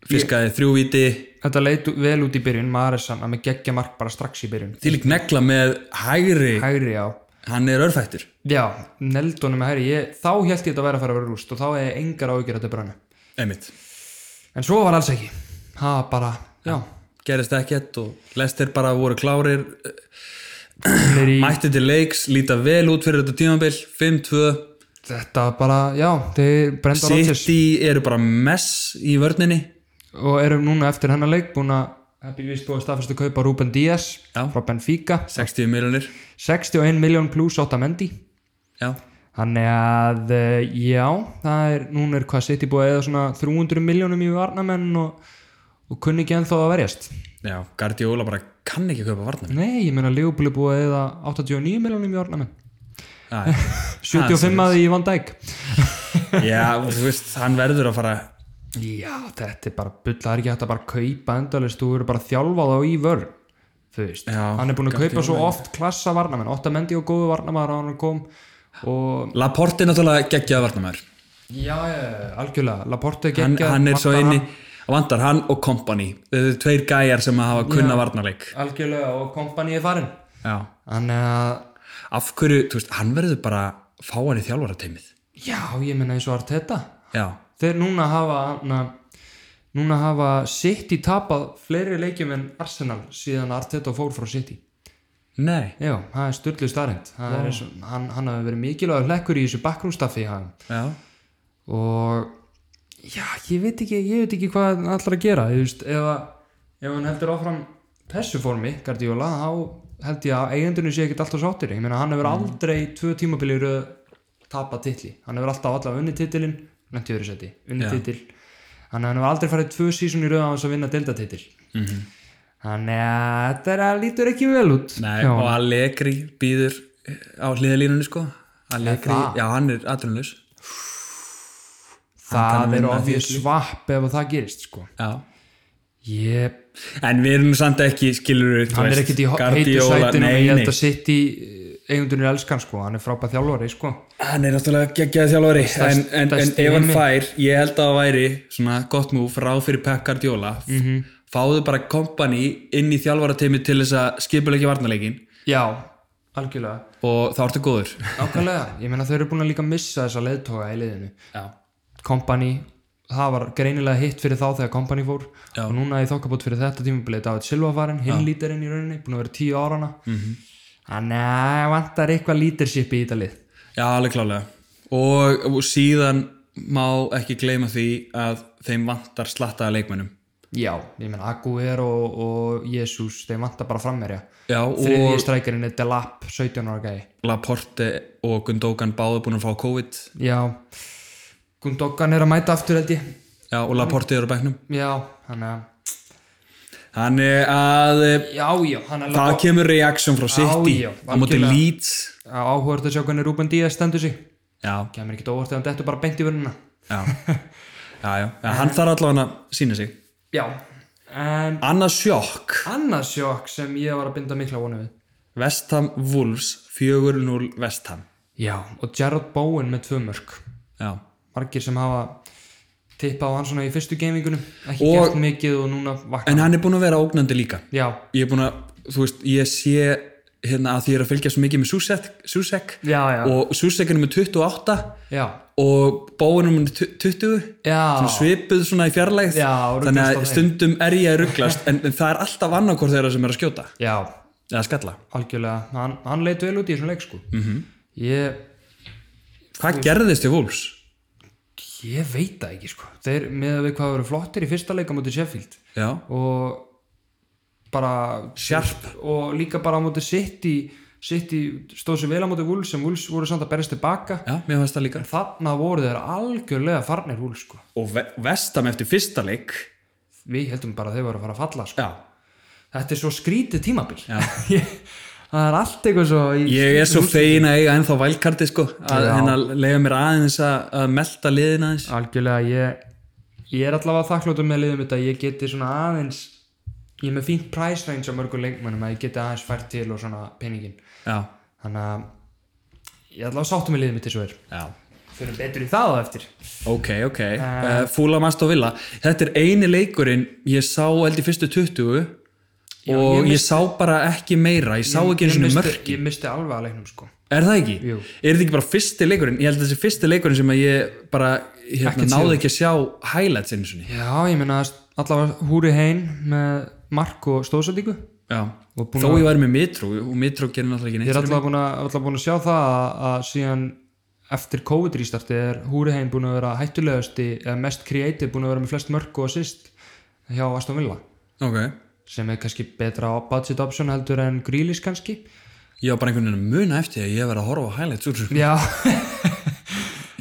fiskaði þrjúvíti Þetta leit vel út í byrjun, Marissan að með geggja mark bara strax í byrjun til ekki negla með hægri Hægri á hann er örfættur Já, neldónum með hægri ég, Þá held ég þetta að vera að fara að vera rúst og þá er engar ágjur þetta brannu einmitt, En svo var alls ekki Ha, bara, já gerist ekkert og lestir bara voru klárir Þeir í, mætti til leiks, líta vel út fyrir þetta tímabil 5-2, Þetta bara, já, þeir brenda Rodgers City eru bara mess í vörninni og erum núna eftir hennar leik búin að hefði vist búið að staðfæstu kaupa Ruben Díaz Já. frá Benfica 60 miljonir 61 61 miljón pluss 8 mendi já, þannig að eh, já, það er núna er hvað sitt í búið eða svona 300 miljónum í varnamenn og, og kunni ekki ennþá að verjast já, Guardiola bara kann ekki kaupa varnar nei, ég meina Leopold er búið eða 89 miljónum í varnamenn Æ. 75 að því í Van Dijk já, þú veist, hann verður að fara já, þetta er bara bull, það er ekki hægt að bara kaupa endalist, þú eru bara að þjálfa þá í vörn þú veist, Já, hann er búin að gæti kaupa verið. svo oft klassa varnamenn, 8 mendi og góðu varnamenn á hann kom og Laporte er náttúrulega geggjaða varnamæður já, já, já, algjörlega, Laporte hann, geggjað, hann er svo vantar inni hann. vandar hann og kompani þau eru tveir gæjar sem að hafa kunna Já. varnarleik algjörlega og kompani er farin já. þannig að, af hverju, þú veist, hann verður bara fá hann í þjálfarateymið já, ég menna eins og Arteta já, þeir núna hafa na, núna hafa City tapað fleiri leikjum en Arsenal síðan Arteta fór frá City nei, Já, það er styrlu starrend hann, hann hafi verið mikilvægur hlekkur í þessu bakgrúnstaffi já og já, ég veit ekki ég veit ekki hvað hann ætlar að gera ég veist, ef, að- ef hann heldur áfram þessu formi, Guardiola þá held ég að eigendurinn sé ekkert alltaf sáttir ég meina hann Mm. hefur aldrei tvö tímabilir tapað titli, hann hefur alltaf allavega unni titilin, nætti öðru seti unni Já. titil, hann hefur aldrei farið tvö sísun í röð á hans að vinna deildatitil mm Mhm. -hmm. þannig að þetta er að lítur ekki vel út nei, hjá honum. og Allegri býður á hliðalínunni sko Allegri, Er það? já, hann er atvinnulegs kann það er vinna ofið titli. svapp ef að það gerist sko. já ég, En við erum samt ekki, skilur við, hann er ekkert í heitu sætinu og ég held að sitt í eigundunir elskan sko, hann er frábæð þjálfari sko. Hann er náttúrulega geggjaði þjálfari en, en, en stærsti í ef hann heimi. fær, ég held að það væri svona gott múf ráð fyrir Pep Guardiola Mhm. fáðu bara kompani inn í þjálfarateimi til þess að skipulegja varnarleikin já, algjörlega og þá ertu góður nákvæmlega, ég meina þau eru búin að líka missa þessa leðtoga í liðinu Já, Kompany, það var greinilega hitt fyrir þá þegar Kompany fór Já. og núna í þokkabót fyrir þetta tímabilið David Silva farin, hinn lítarinn í rauninni búin að vera tíu árana mm -hmm. þannig að vantar eitthvað leadership í þetta lið Já alveg klálega og, og síðan má ekki gleyma því að þeim vantar slattaða leikmennum já, ég meina Aguero og, og Jesus, þeir vantar bara frammerja Já, og þriðji strækjarinn er Delap 17 ára gæi Laporte og Gundogan báðu búin að fá COVID Já Gundogan er að mæta aftur held ég Já, og Laporte eru á bæknum Já, hann er Þannig að eh, Já, já, hann er það kemur reaksjón frá City já, á móti algjörlega. Leeds áhugað að sjá hvernig Ruben Díaz stendur sig Já, Kæmur ekkert óvart eða hann dettur bara beint í vörnina já, já, já. já hann þarf allavega að sína sig Já En annað sjokk annað sjokk sem ég var að binda mikla vonu við Vestham Wolves 4-0 Vestham Já, og Gerard Bowen með tvö mörg já. Margir sem hafa tippað á hann svona í fyrstu gamingunum Ekki Og- gert mikið og núna vakna en hann er búin að vera ógnandi líka Já, ég er búin að, þú veist, ég sé hérna að því ég er að fylgja svo mikið með Susek, Susek já, já og Susek er með 28 Já, og Bóinum er 20 já, svona svipuð svona í fjarlægð Já, ruglast þannig á að þeim. stundum er ég að rugglast en, en það er alltaf annarkor þeirra sem er að skjóta já. eða skalla algjörlega, hann, hann leit vel út í þessum leik sko Mhm. -hmm. ég, hvað gerðist í Wolves? ég veit það ekki sko þeir með að við hvað eru flottir í fyrsta leika mútið Sheffield já, og bara Sjarp. og líka bara á mútið sitt í sitt í, stóð sér vel á mútið Wolves sem Wolves voru samt að berjast tilbaka já, mér fannst það líka en þarna voru þeir algjörlega farnir Wolves sko og ve vestam eftir fyrsta leik við heldum bara að þeir voru að fara að falla sko. já. þetta er svo skrítið tímabil Ég- það er allt eitthvað svo í- ég er svo fegin að eiga ennþá vælkarti sko, að Já. hérna leiða mér aðeins að, að melta liðin aðeins algjörlega ég, ég er allavega þakkláttur með liðum þetta ég geti svona aðeins ég er með fínt price range á mörgum leikmönnum að ég geti aðeins fært til og svona peningin já, þannig að ég er allavega sáttum með liðum þetta svo er já. fyrir um betur í það á eftir Ok, ok, Eh. uh, fúla mast og villa Þetta er eini leikurinn ég sá held í fyrstu 20 og ég, ég sá bara ekki meira ég sá ekki einu ég, svona missti- mörki ég misti alveg að leiknum sko Er það ekki? Jú. Er þetta ekki bara fyrsti leikurinn? Ég held að þessi fyrsti leikurinn sem að ég bara hérna, Ekkert náði séð. ekki að sjá highlights einu sinni já ég meina allavega húri hein með mark og stóðsendingu Já, Og búin þó að- ég væri með mitrú og mitrú gerir náttúrulega ekki ég er neitt fyrir mig. allavega búin að, allavega búin að sjá það að, að síðan eftir COVID-rístarti er húri hein búin að vera hættulegasti eða mest creative búin að vera með flest mörk og assist hjá Aston Villa Ok, sem er kannski betra á budget option heldur en Grealish kannski ég var bara einhvern veginn að muna eftir því að ég var að horfa á highlights úr þessu. já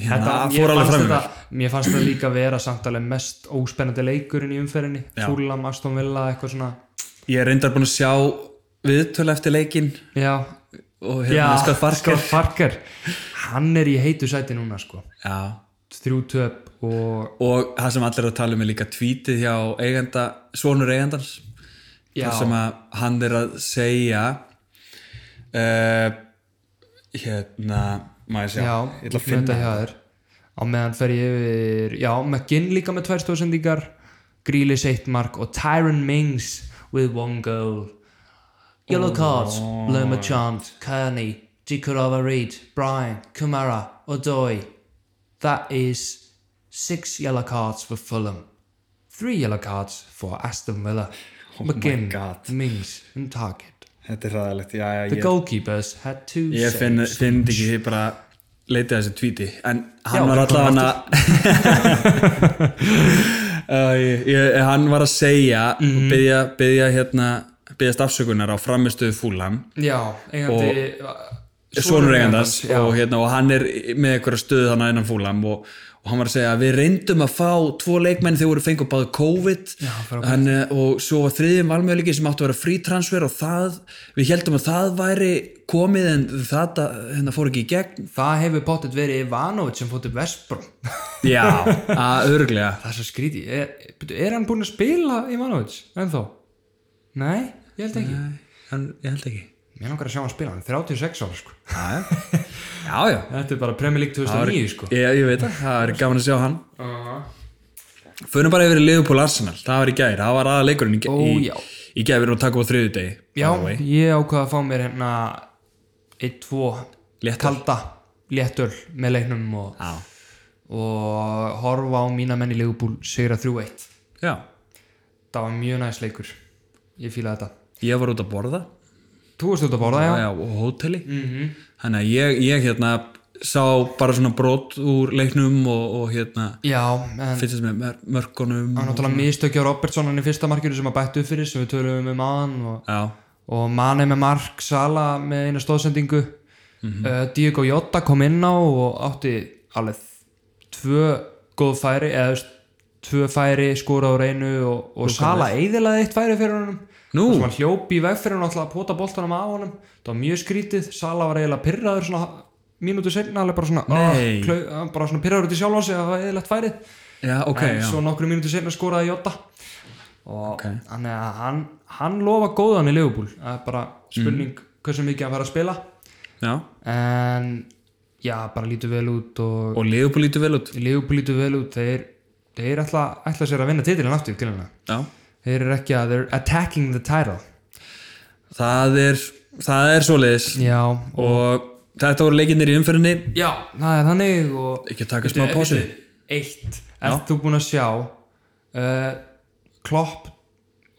Hérna, það mér fór alveg fannst fram í þetta, mig. mér fannst það líka vera samt alveg mest óspennandi leikurinn í umferðinni Já. Fúlam, Aston Villa, eitthvað svona Ég er reyndar búin að sjá viðtölu eftir leikinn já, og hérna Scott Parker. Scott Parker hann er í heitu sæti núna sko Já, þrjú töp og og það sem allir eru að tala um er líka tweetið hjá eiganda, svonur eigandans Já. þar sem að hann er að segja uh, hérna maður já, segja, ég ætla að finna finna þetta hjá þér á meðan fer ég yfir já, McGinn líka með tvær stóðsendingar Grealish eitt mark og Tyron Mings with one goal Oh. Yellow cards, Blue Machant, Kearney, Dikurova Reed, Brian, Kumara, Odoi. That is six yellow cards for Fulham, three yellow cards for Aston Villa. Oh my McGinn, God. Mings and Target. þetta er ræðilegt, já, já, The ég, goalkeepers had two ég finn, saves. finn þetta ekki ég bara leitið að þessu tweeti en hann Já, var við allavega komum hann að ég, ég, hann var að segja Mhm. og byggja, byggja hérna byggjast afsökunar á framistöðu fúlan Já, eigandi svonur eigandans já. og, hérna, og hann er með einhverja stöðu þannig innan fúlam og, og hann var að segja að við reyndum að fá tvo leikmenn þegar voru fengið báðu COVID Já, bara COVID. hann, eh, og svo var þriðjum valmjöleiki sem áttu að vera frítransfer og það, við heldum að það væri komið en það hérna, fór ekki í gegn Það hefur pottet verið Ivanovic sem fótt upp Vesbró já, að örglega Það er svo skríti er, byrju, er hann búinn að spila Ivanovic ennþá? Nei, ég held ekki hann, ég held ekki Mér langar að sjá hann spila, hann er 36 ára sko já, já, já, já. Þetta er bara Premier League 2009 sko Ég, ég veit að það er gaman að sjá hann uh, Förum bara yfir í Liverpool Arsenal, það var í gær, það var aða leikurinn í, Ó, í, já. í gær, við erum að taka upp á þriðju degi Já, ég ákvaða að fá mér hérna 1-2 Léttöl. kalda léttöl með leiknum og, Já. og horfa á mína menn í leigubúl sigra 3-1 Já, Það var mjög næs leikur Ég fíla þetta ég var út að borða Þú varst út að borða, já. Mhm. já, og hóteli -hmm. Þannig að ég, ég hérna sá bara svona brot úr leiknum og, og hérna Já, en fyrstast með mör- mörkunum það var náttúrulega mistökja Robertson hann í fyrsta markinu sem að bættu upp fyrir sem við töluðum um aðan og, Já, og Mane með mark, Sala með eina stóðsendingu uh, Diego Jota kom inn á og átti alveg tvö góð færi eða þú veist, tvö færi skora á reynu og, og Sala eiðilaði eitt færi fyrir honum Nú? og sem hann hljóp í veg fyrir hann alltaf að pota boltanum á honum það var mjög skrítið, Sala var eiginlega pyrraður svona mínútu seinna alveg bara svona, Nei. "Ah, klau- ah," bara svona pyrraður til sjálf hans eða það var eiginlegt færið já, ok en já. svo nokkru mínútu senna skoraði Jota og Ok. þannig að hann, hann lofa góðan í Liverpool það er Mm. bara spurning hversu mikið hann fær að spila já en já, bara lítur vel út og, Og Liverpool lítur vel út Liverpool lítur vel út þeir, þeir ætla, ætla sér að vinna titilin aftur til hennar Já, þeir eru ekki að, they're attacking the title það er, það er svoleiðis já, Og þetta voru leikinnir í umferðinni já það er þannig og Ekki að taka smá pásu Eitt Er þú búinn að sjá uh, Klopp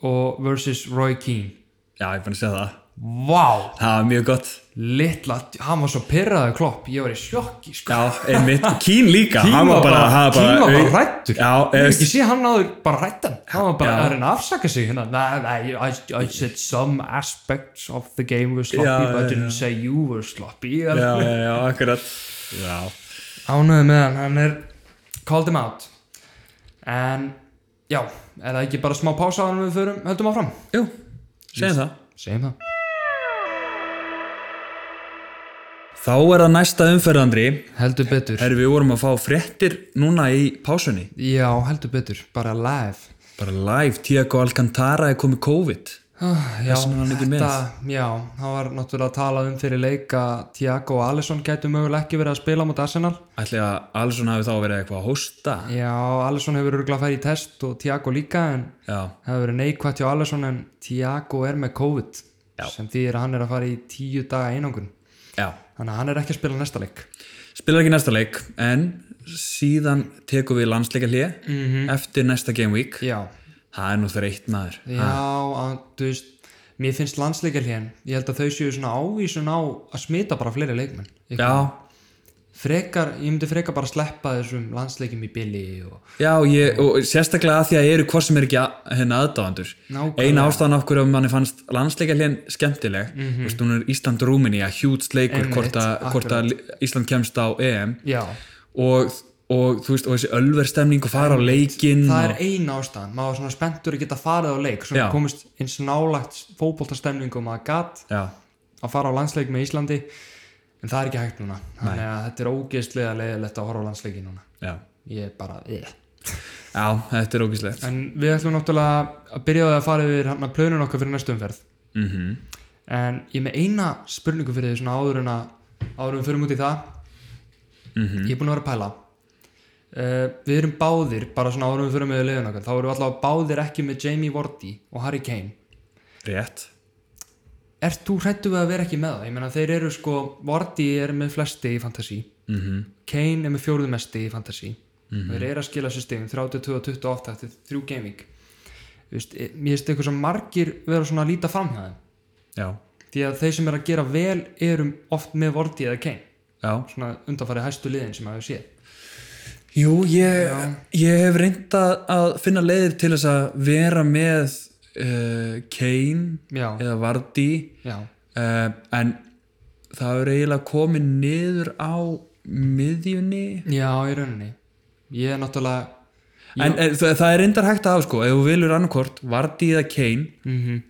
og versus Roy Keane Já, ég er fann að segja það Vá Það var mjög gott litla, hann var svo pyrraður klopp ég var í sjokki sko Já, einmitt, Kín líka Kín hann var bara- hann Kín var bara hræddur. Já, ég hef eða- ekki sé hann áður bara rættan hann var bara Já. að reyna að afsaka sig hérna nei, nei, I, I said some aspects of the game were sloppy Já, but I já, didn't say you were sloppy já, já, já, akkurat Já, ánöðu með hann, hann er called him out en já, er það ekki bara smá pása hann við förum, höldum áfram jú, segjum það segjum það Þá er það næsta umferðandri heldur betur, Herri, við vorum að fá fréttir núna í pásunni já heldur betur bara live Bara live, Tiago Alcantara er komið COVID Ah, Já, vegna var hann ekki með. já, hann var náttúrulega að tala um fyrir leika Tiago og Alisson gætu mögulega ekki verið að spila mot Arsenal Ætli að Alisson hafi þá verið eitthvað að hósta Já, Alisson hefur örgulega færi í test og Tiago líka en Já, það hefur verið neikvætt hjá Alisson en Tiago er með COVID já. sem þýðir að hann er að fara í tíu daga einangun já þannig að hann er ekki að spila næsta leik Spilar ekki næsta leik, en síðan tekum við landsleika hlið eftir næsta game week Mhm. Já, Það er nú þreytt maður Já, að, þú veist, mér finnst landsleikjarlíðan, ég held að þau séu svona ávísun á að smita bara fleiri leikmenn. Ég, Já, frekar, ég myndi frekar bara sleppa þessum landsleikjum í billi og... Já, ég, og sérstaklega að því að ég eru hvort sem er ekki að- hérna aðdáðandur. Nákvæmlega. Eina ástæðan af hverju að manni fannst landsleikahljén skemmtileg, þú veist, hún er Ísland-Rúmini að hjúts leikur Mhm. Einmitt, hvort að- hvort að Ísland kemst á EM Já, og, og þú veist, og þessi ölverstemning og fara á leikinn það er og, eina ástæðan, maður var svona spenntur að geta farið á leik, svona Já. komist eins nálagt fótboltastemningu og maður gat Já, að fara á landsleik með Íslandi, en það er ekki hægt núna. Þannig að þetta er ógeðslega leiðilegt að horfa á landsleiki núna. já, Ég er bara, eh. ég. já, þetta er ógíslegt. En við ætlum náttúrulega að byrja á því að fara yfir hann að plönun okkar fyrir næstu umferð. Mm En ég er með eina spurningu fyrir því svona áður en að áður en við förum út í það Ég er búin að vera að pæla uh, Við erum báðir, bara svona áður en við förum með leiðin okkar, þá erum við allavega báðir ekki með Jamie Vardy og Harry Kane Rétt. Ert þú hrættu við að vera ekki með það? Ég meina þeir eru sko, Vardy er með flesti í fantasy Mm Kane er með fjóruðum mesti í fantasy Þeir eru að skila sér stegum 32 og 28 eftir þrjú gaming Vist, Mér finnst eitthvað sem margir vera svona að líta fram hjá þeim Já, því að þeir sem er að gera vel erum oft með Vorti eða Kane já. svona undanfarið hæstu liðin sem að við séð Jú, ég, ég hef reynda að finna leiðir til þess að vera með uh, Kane já, eða Vardí já, uh, en það er eiginlega komið niður á miðjunni já, í rauninni ég er náttúrulega en, en það, það er reyndar hægt að hafa sko ef þú vilur annarkort Vardí eða Kane mm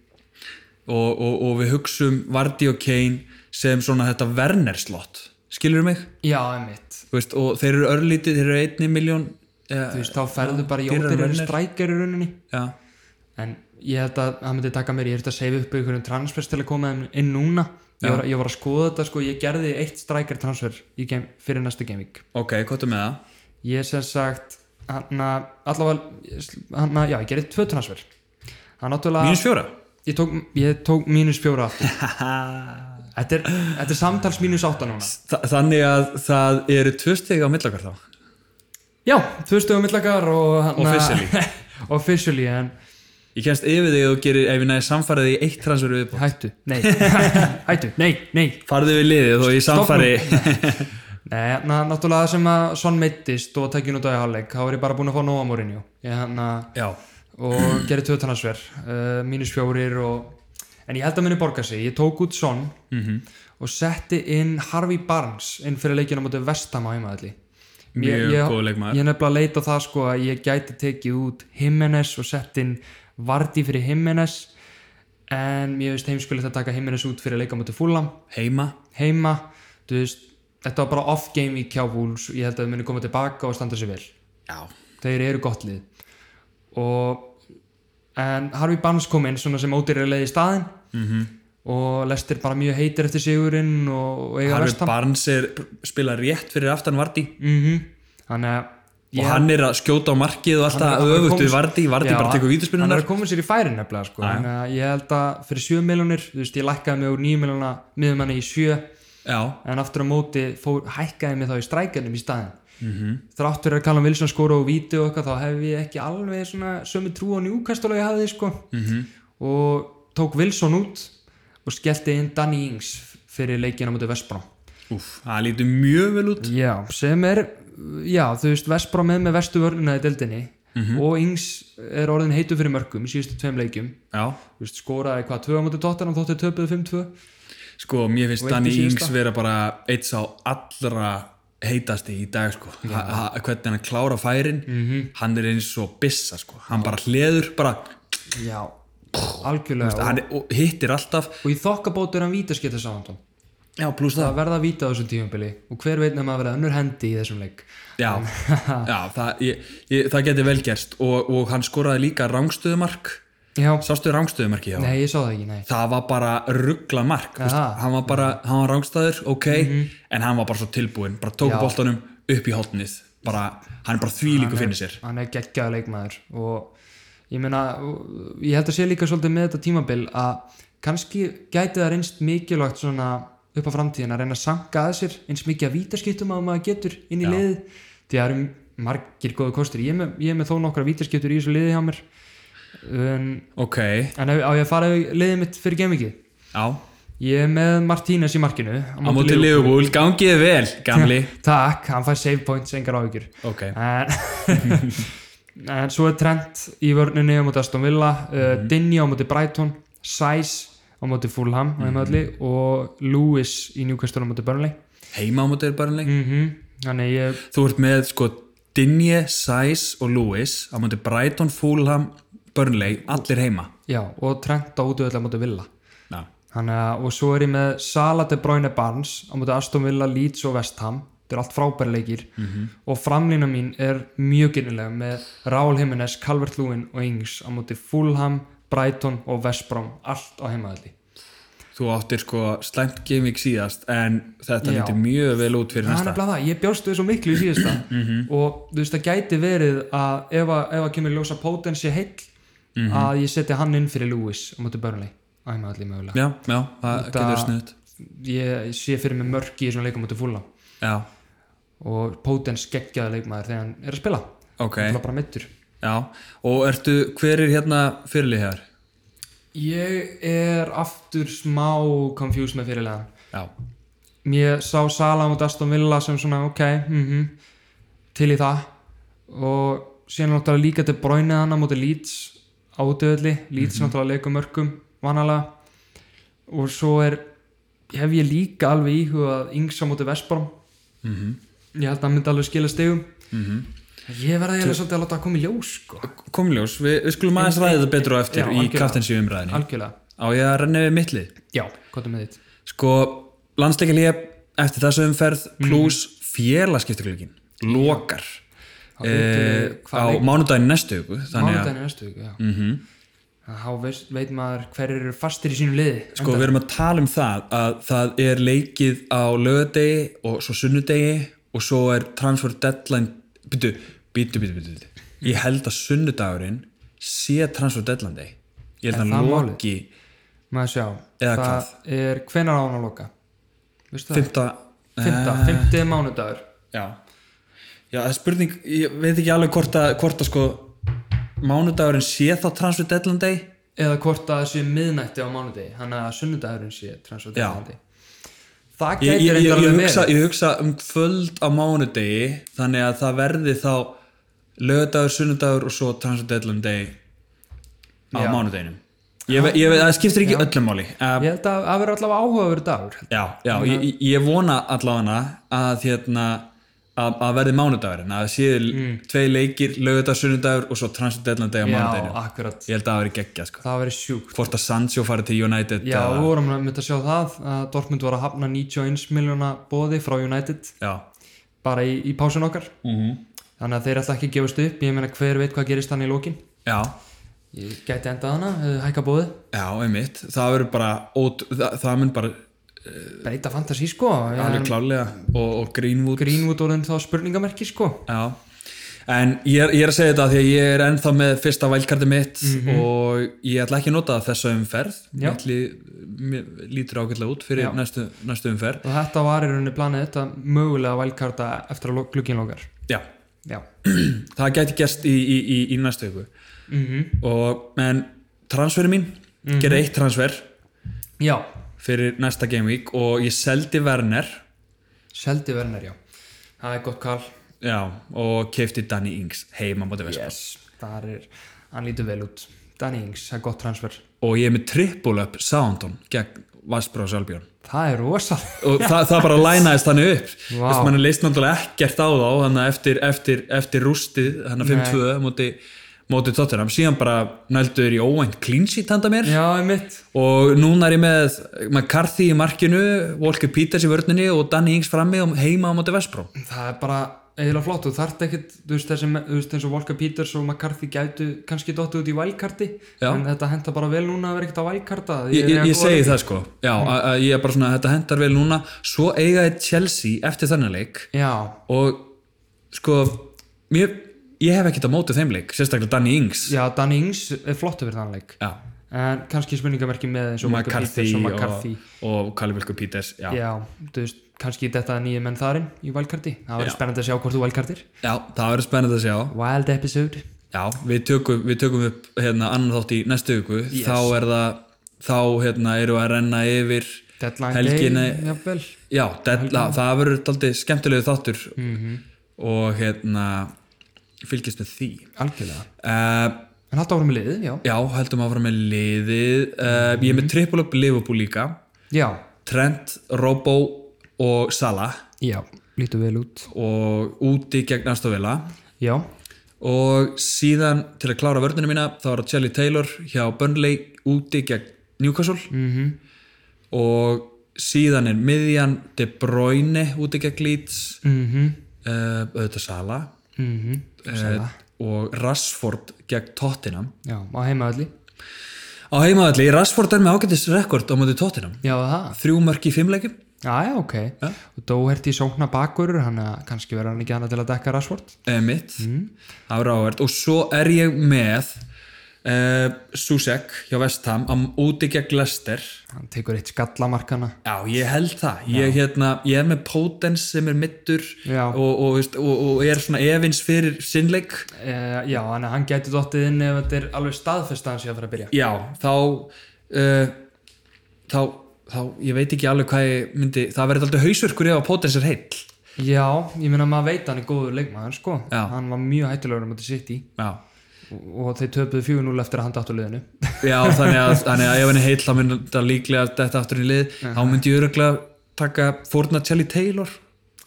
og, og, og við hugsum Vardí og Kane sem svona þetta Werner slott skilur mig já, emitt Þú veist, og þeir eru örlítið, þeir eru einni miljón þú eh, veist, þá ferðu bara í dýrar ódýrari verðir. strækjar í rauninni já, en ég held að það myndi taka mér ég held að seifa upp einhverjum transfers til að koma þeim inn núna ég var, ég var að skoða þetta sko, ég gerði eitt strækjar transfer í game, fyrir næstu gaming ok, hvað er með það? ég sem sagt hann að allavega hann að, já, ég gerði tvö transfer hann náttúrulega mínus fjóra? Ég tók, ég tók mínus fjóra aftur þetta, er, þetta er samtals mínus átta núna Þa, þannig að það eru tvö stegi á millakar þá Já, tvö stöðum millakar og hana- Officially. Officially, en ég kemst yfir þig og gerir, ef ég næði samfærið í eitt transfer viðbúr, hættu, nei Hættu, nei, nei farðu við liðið og ég Stopp nú. samfæri Nei, na, náttúrulega það sem að Son meittist og tekið nút á í hálfleik þá er ég bara búin að fá nóg á morinu hérna- já, og gerði tvö tannarsver uh, mínus fjórir og en ég held að minni borga sig, ég tók út Son Mhm. og setti inn Harvey Barnes inn fyrir leikina mútið Vestam á heimaðalli Mjög góður leikmaður. Ég er nefnilega að leita það sko að ég gæti tekið út Jimenez og sett inn Vardy fyrir Jimenez en ég veist heimskulegt að taka Jimenez út fyrir leika mútið Fulham heima heima, þú veist þetta var bara off game í Kjávúls ég held að þau muni koma tilbaka og standa sér vel já, þeir eru gott lið og en Harvey Barnes kom inn svona sem ódýrari leið í staðinn Mhm. -hmm. og lestir bara mjög heitir eftir sigurinn og, og eiga Harvey vestam Barnes er, spila rétt fyrir aftan Vardí mm þannig að og hann er að skjóta á markið og Hann er- alltaf hann er öfugt við komist- Vardí Vardí Já, bara tekur hann er vítaspinnunar að koma sér í færi nefnilega sko. Já, já. þannig að ég held að fyrir 7 miljonir þú veist ég lækkaði mig úr 9 miljonar miðum henni í 7 já, en aftur á móti fór, hækkaði mig þá í strækjarnum í staðinn mm -hmm. þráttur að Callum Wilson skora og víti og eitthvað þá hef ég ekki alveg svona sömu trú á njúkastul og ég hafði sko -hmm. og tók Wilson út og skellti inn Danny Ings fyrir leikina mútið Vesbrá úf, það lítur mjög vel út já, sem er já, þú veist Vesbrá með með vestu vörnuna í deildinni og Ings er orðin heitu fyrir mörgum í síðustu tveim leikjum já, Þú veist, skoraði hvað, 2 mútið Tottenham þóttið töpuðu 5-2 sko, mér finnst Og eitt í Danny síðasta. Ings vera bara eitt sá allra heitasti í dag sko ha, ha, hvernig hann klára færin hann er eins og bissa sko hann bara hleður, bara, já, algjörlega og, hann er- og hittir alltaf og í þokkabótu er hann vítasketta sáhandum já, pluss það að verða að víta á þessum tífumbili og hver veit nema að verða önnur hendi í þessum leik Já, já það, ég, ég, það geti vel gerst og, og hann skoraði líka rangstöðumark já, sástu rangstöðumarki hjá honum? nei, ég sá það ekki, nei það var bara ruggla mark ja. Aha. hann var bara, hann var rángstæður, ok en hann var bara svo tilbúinn, bara tók Já. boltanum upp í hotnið, bara hann er bara þvílíku finnir sér hann er geggjaður leikmaður og ég meina og ég held að sé líka svolítið með þetta tímabil að kannski gæti það reynst mikilvægt svona upp á framtíðin að reyna að sanka að sér eins mikið að vítaskiptum að maður getur inn í Já. liðið því að það eru margir góðu kostir ég er með, ég er með þó nokkra vítaskiptur í þessu liði hjá mér en, ok, en ef, á ég að fara yfir liðið mitt fyrir gemikið já ég er með Martínes í markinu á móti Liverpool, gangið vel, gamli takk, hann fær save points, engar áhyggjur ok, en, en svo er Trent í vörninni á móti Aston Villa uh, Dinny á móti Brighton Sæs á móti Fulham mm og Lewis í Newcastle á móti Burnley heima á móti er bara leik mm þannig ég þú ert með sko Dinje, Sæs og Lewis á móti Brighton, Fulham, Burnley allir heima já, og Trent á útöðlega á móti Villa já, Þannig, að- og svo er ég með Sala de Bruyne Barnes á móti Aston Villa, Leeds og West Ham þetta er allt frábæri leikir -hmm. og framlýna mín er mjög gynnilega með Raúl Jiménez, Calvert Lúin og Ings á móti Fulham, Brighton og West Brom, allt á heimaðalli þú áttir sko slæmt gaming síðast en þetta Já. lítur mjög vel út fyrir Það er næsta nefnilega það, ég bjóst við svo miklu í síðasta og þú veist það gæti verið að ef að, ef að kemur ljósa potensi heill að ég setja hann inn fyrir Lewis á móti Burnley, æma allir mögulega já, já, það Þetta- getur snuðt ég sé fyrir mig mörki í svona leikum móti fúla já, og potens geggjaði leikmaður þegar hann er að spila okay. ok það bara mittur Já, og ertu, hver er hérna fyrirliðar? ég er aftur smá confused með fyrirlega Já, mér sá Sala mot Aston Villa sem svona ok, mhm, til í það og síðan er náttúrulega líka til bróinið hana mot Leeds á útöðli, Leeds náttúrulega leikum mörgum vanalega og svo er, hef ég líka alveg íhugað yngsa mot Vestbrom ég held að hann myndi alveg skila stegum ég verði eiginlega svolítið að láta að koma í ljós sko. komljós, við, við skulum aðeins ræða þetta betur á eftir Já, í algjörlega. kraftinsíu umræðinni. algjörlega, Á ég að renna við mittlið. já, hvað er með þitt Sko, landsleikalíja eftir þessu umferð Mm. pluss félagskiptuglíkin, lokar Á eh, útöðli, á hvað leik- mánudaginn næstu viku, þannig að Mhm. mánudaginn í næstu viku, já þá veist, veit maður hverjir eru fastir í sínu liði Sko við erum að tala um það að það er leikið á lögadegi og svo sunnudegi og svo er transfer deadline býtu, býtu, býtu, býtu, býtu. ég held að sunnudagurinn sé transfer deadline day ég held Er að það hann málið? loki maður sjá, Sko- Eða það hvað? er hvenar á hann að loka veistu það? fymta Fymta, Eh. fymti mánudagur já. já, það er spurning ég veit ekki alveg hvort að, hvort að sko mánudagurinn sé þá transfer deadline day eða hvort að það sé miðnætti á mánudegi þannig að sunnudagurinn sé transferdeglandi ég, það gæti ég, ég, reyndar ég, alveg hugsa, verið ég hugsa um kvöld á mánudegi þannig að það verði þá lögadagur, sunnudagur og svo transcendentalum degi á Já. mánudeginum ég, ve- ég, ve- það skiptir ekki öllu máli uh, ég held að það verður allavega áhugaverið dagur já, já, ég, ég- ég vona allavega að hérna að, að verði mánudagurinn að það séu tvei leikir, lögadagur, sunnudagur og svo transcendentalum degi á Mm. já, mánudeginum akkurat, ég held að það veri geggja sko. það verður sjúkt hvort að Sancho fari til United já, eða- við vorum að mynda að sjá það að Dortmund var að hafna 91 miljóna bóði frá United já, bara í, í pásun okkar þannig að þeir ætla ekki að gefast upp ég meina hver veit hvað gerist hann í lókin já ég gæti endað hana, eh, hækka bóði Já, einmitt, það verður bara ót, það, það mun bara breyta fantasi sko alveg klálega og, og Greenwood Greenwood orðin þá spurningamerki sko Já, en ég er, ég er að segja þetta af því að ég er ennþá með fyrsta vælkarti mitt og ég ætla ekki að nota þessa umferð Mhm. Já. Mitt lí- mér lítur ágætlega út fyrir næstu, næstu umferð og þetta var í rauninni planið þetta mögulega valkarta eftir að glukkin lókar Já, já, það gæti gerst í, í, í, í næstu ykkur Mhm. og, en transferin mín mm gerði eitt transfer já fyrir næsta game week og ég seldi Werner seldi verðnar já það er gott kall Já, og keifti Danny Ings heima á móti Vespa yes. það er, hann lítur vel út Danny Ings, það er gott transfer og ég er með triple up Soundon gegn Vassbrá og Sjálfbjörn það er rosa og það, það bara lænaðist þannig upp Vá. wow. mann er leist náttúrulega ekkert á þá þannig að eftir, eftir, eftir rústið þannig að 5-2 móti, móti Tottenham síðan bara nældur í óvænt clean sheet handa mér já, mitt og núna er ég með McCarthy í markinu Walker Peters í vörninni og Danny Ings frammi og heima á móti Vespró það er bara eiginlega flott og þarft ekkert þú veist, þessi, me- þú veist eins og Volker Peters og McCarthy gætu kannski dottu út í vælkarti Já. en þetta henta bara vel núna að vera ekkert á vælkarta Ég, ég, ég segi það sko, já, Mm. að- að ég er bara svona þetta hendar vel núna, svo eigaði Chelsea eftir þannig leik já, og sko mér, ég hef ekkert á móti þeim leik sérstaklega Danny Ings já, Danny Ings er flott yfir þann leik já, en kannski spurningamerki með eins og Walker McCarthy Peters og og, McCarthy og Kali Vilku Peters já. já, þú veist, kannski þetta nýju menn þarinn í vælkarti það verður spennandi að sjá hvort þú vælkartir já, það verður spennandi að sjá Wild episode já, við tökum, við tökum upp hérna, annan þátt í næstu viku Yes. þá er það, þá hérna eru að renna yfir Deadline Helginni- day, jafnvel já, della, það verður daldið skemmtilegu þáttur -hmm. og hérna fylgjast með því algjörlega, uh, en haldt áfram með liðið, já já, heldum að fara með liðið uh, ég er með triple up Liverpool líka já, Trent, Robbo og Salah já, lítur vel út og úti gegn Astovilla já, og síðan til að klára vörnina mína þá er það Charlie Taylor hjá Burnley úti gegn Newcastle -hmm. og síðan er miðjan De Bruyne úti gegn Leeds mhm uh, auðvitað Salah mm uh, og Rashford gegn Tottenham Já, á heimaðalli á heimaðalli, Rashford er með ágættis rekord á móti Tottenham Já, það þrjú mörg í fimmleikum Já, já, ok Og Dóherti sókna bakur hann að kannski vera hann ekki annað til að dekka Rashford eða eh, mitt það var áhvert og svo er ég með uh, Susek hjá Vestham á úti gegn Lester Hann tekur eitt skallamarkana já ég held það ég, hérna, ég er með Potens sem er mittur Já. og, og, veist, og, og er svona evins fyrir sinnleik e, Já, hann, hann gæti dottið inn ef þetta er alveg staðfest að hann sé að fara að byrja já þá uh, þá þá ég veit ekki alveg hvað ég myndi það verður alltaf hausverkur ef að Potens er heill Já, ég meina maður veit að hann er góður leikmaður sko Já. Hann var mjög hættulegur um þetta sitt í já og þeir töpuðu 4-0 eftir að hann datt á liðinu Já, þannig að, þannig að ef henni heill þá myndi þetta líklega þetta aftur í lið þá myndi ég öruglega taka fórna Charlie Taylor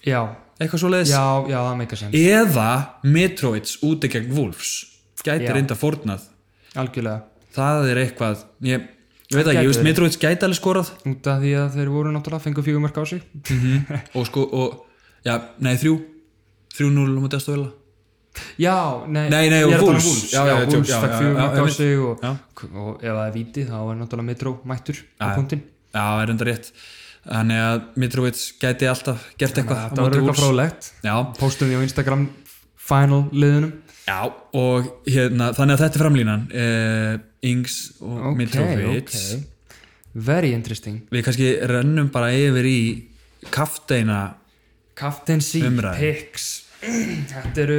Já, eitthvað svo leiðis já, já, það meikar sens eða Metroids úti gegn Wolves gæti Já. reynda fórnað Algjörlega það er eitthvað ég, ég veit Það ekki, gæti ég veist verið. Metroids gæti alveg skorað Út af því að þeir voru náttúrulega fengu fjögumörk á sig og sko, og, já, nei, þrjú 3-0 á móti að stóla Já, nei, Nei, nei, ég er að tala um Wolves. Wolves Já, já, ég tjók, Wolves já, fekk já, fjögur já, mörg á einmitt. sig og, Já. og ef það er víti þá er náttúrulega Metro mættur á punktin já, það er reynda rétt þannig að Metroids gæti alltaf gert eitthvað Það var eitthvað frólægt já, Póstum því á Instagram final liðunum já, og hérna þannig að þetta er framlínan eh, Ings og Ok, Metroids ok Very interesting við kannski rennum bara yfir í kafteina Captain C, Umræða. Picks Þetta eru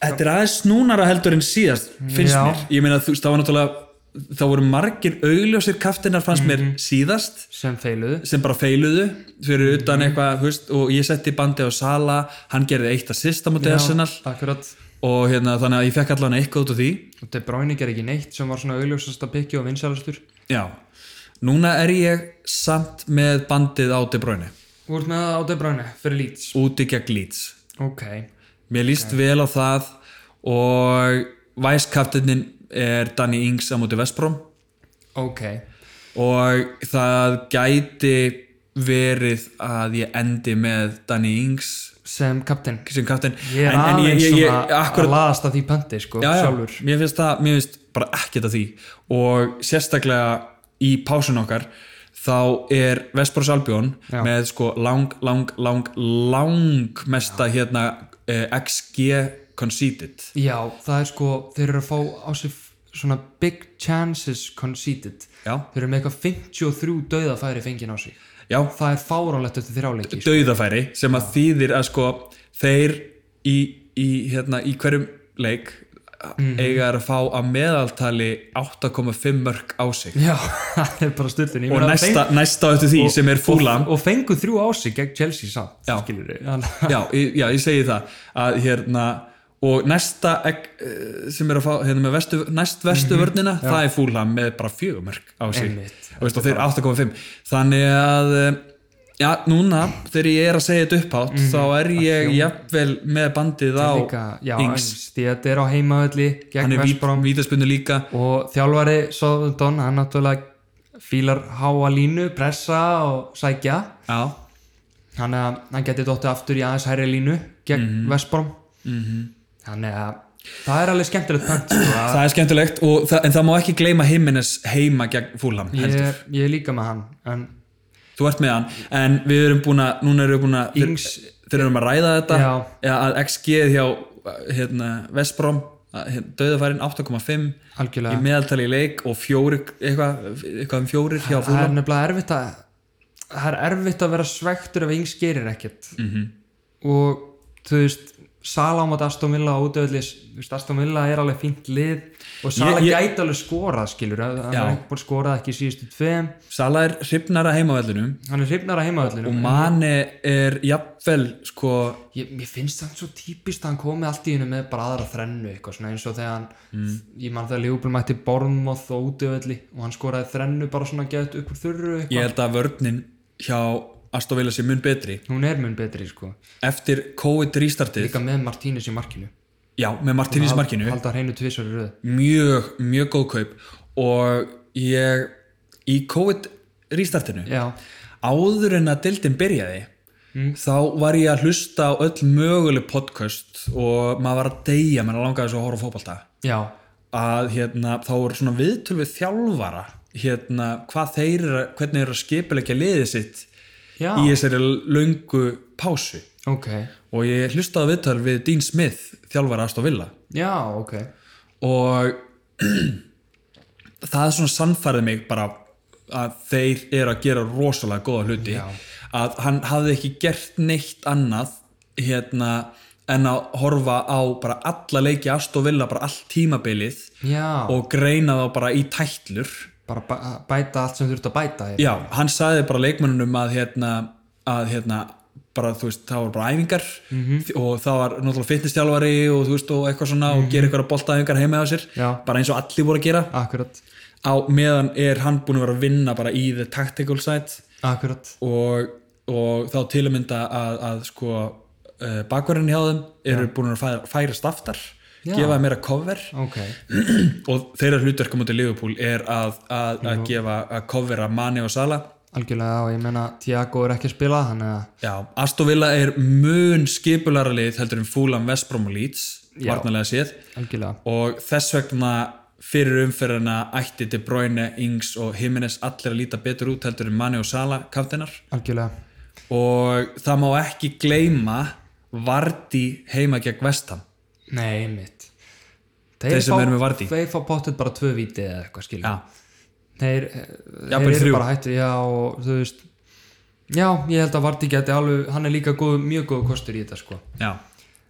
Þetta er aðeins snúnara heldur en síðast finnst Já. mér, ég meina þú veist, það var náttúrulega þá voru margir augljósir kaftinnar fannst Mhm. mér síðast sem feiluðu sem bara feiluðu fyrir utan Mhm. eitthvað, þú veist, og ég setti bandið á Sala, hann gerði eitt að sista mútið Arsenal Akkurat og hérna þannig að ég fekk allan eitthvað út af því Og De Bruyne ger ekki neitt sem var svona augljósasta pikki og vinsælastur Já, núna er ég samt með bandið á De Bruyne Þú ert með það á De Bruyne fyrir Leeds úti gegn Leeds Ok Mér líst vel á það og væskaftinnin er Danny Ings á mútið Vestbrom Ok og það gæti verið að ég endi með Danny Ings Sem Captain sem kapten Ég er en aðeins ég, ég, ég, svona að akkurat, laðast að því pönti sko, já, já, sjálfur mér finnst það mér finnst bara ekkert að því og sérstaklega í pásun okkar þá er Vestbrós Albjón Já. með sko lang, lang, lang lang mesta hérna eh, XG conceded Já, það er sko, þeir eru að fá á sig f- svona big chances conceded já, Þeir eru með eitthvað 53 dauðafæri fengin á sig já, Það er fáránlegt eftir þrjá leiki sko. dauðafæri sem að þýðir að sko þeir í, í, hérna, í hverjum leik Mhm. eiga að fá að meðaltali 8,5 mörg á sig Já, það er bara styrlun og næsta, næsta eftir því sem er fúlam og, og fengu þrjú á sig gegn Chelsea samt Já. skilur við já, ég- já, ég segi það að hérna og næsta egg, eh, sem er að fá hérna, með vestu, næst vestu vörnina það er fúlam með bara fjögumörk á sig Mhm, Einmitt. og, veist, og þeir 8,5 þannig að eh, já, núna þegar ég er að segja þetta upphátt Mhm, þá er ég jafnvel með bandið á Líka, já, Ings Ings Því að þetta er á heimaðalli hann gegn er Vestbrom vít, vítaspunni líka og þjálfari Southampton, hann náttúrulega fílar háa línu, pressa og sækja já, þannig að hann geti dottið aftur í aðeins hæri línu gegn mm Mhm. Vestbrom þannig að það er alveg skemmtilegt pönt sko, að Það er skemmtilegt, og, það- en það má ekki gleyma Jimenez heima gegn fúlam. ég, ég er líka með hann en Þú ert með hann, en við erum búin að, núna erum við búin að, Ings- þeir, þeir erum að ræða þetta, Já. eða að XG-ið hjá hérna, Vestbrom, að, hérna, döðafærin 8,5 í algjörlega meðaltali í leik og fjóri, eitthvað eitthva um fjórir hjá það er fúlam. nefnilega erfitt að það er erfitt að vera svektur ef yngs gerir ekkert Mhm. -hmm. og þú veist Sala á mátta Aston Villa á útöðli Aston Villa er alveg fínt lið og Sala Ég- ég- gæti alveg skorað skilur hann hann Já. er ekki búin að skorað ekki í síðustu tveim Sala er hrifnara heimavellinu hann er hrifnar að heimaðallinu og Mane er jafnvel, sko, ég, mér finnst það svo típist að hann komi allt í hennu með bara aðra þrennu eitthvað svona eins og þegar hann Mm. ég man þegar Leopold mætti Bornmoth og útöðli og hann skoraði þrennu bara svona gett upp úr þurru eitthvað ég held að vörninn hjá Aston Villa sé mun betri. hún er mun betri sko Eftir COVID-restartið, líka með Martínez í markinu já, með Martínez markinu, halda hreinu tvisar í röð mjög, mjög góð kaup og ég í COVID-restartinu já, Mm. áður en að deildin byrjaði þá var ég að hlusta á öll möguleg podcast og maður var að deyja, maður langaði svo að horfa á fótbalta já, að hérna, þá voru svona viðtöl við þjálfara hérna, hvað þeir eru, að- hvernig þeir eru að skipilegja liðið sitt já í þessari löngu pásu ok, og ég hlustaði á viðtöl við Dean Smith, þjálfara Aston Villa já, ok og það svona sannfærið mig bara að þeir eru að gera rosalega góða hluti Já. að hann hafði ekki gert neitt annað hérna en að horfa á bara alla leiki Aston Villa bara allt tímabilið já, og greina þá bara í tætlur bara bæ bæta allt sem þurft að bæta ég. já, hann sagði bara leikmönnunum að hérna, að hérna bara þú veist, það var bara æfingar Mhm. og það var náttúrulega fitnessstjálfari og þú veist og eitthvað svona og gera eitthvað boltaæfingar heima á sér Mhm. Já. bara eins og allir voru að gera akkurat, á meðan er hann búin að vera að vinna bara í the tactical side akkurat og, og þá til að mynda að, að sko uh, bakverðin hjá þeim eru búin að færa, færa staftar Já. gefa meira cover ok, og þeirra hlutverkum út í Liverpool er að, að, að gefa að covera Mane og Sala algjörlega og ég menna Tiago er ekki að spila þannig að Já, Aston Villa er mun skipulara lið heldur en Fulham, West Brom og Leeds Já. varnalega séð algjörlega, og þess vegna fyrir umferðina ætti De Bruyne, Ings og Jimenez allir að líta betur út heldur en Mane og Sala kaftinar algjörlega og það má ekki gleyma Vardi heima gegn Vestham nei, mitt Þeir sem eru með Vardy. þeir fá pottet bara tvö víti eða eitthvað skilja Já, þeir, Já, þeir bara eru þrjú. bara hættu já, og þú veist já, ég held að Vardí geti alveg hann er líka góð, mjög góð kostur í þetta sko já,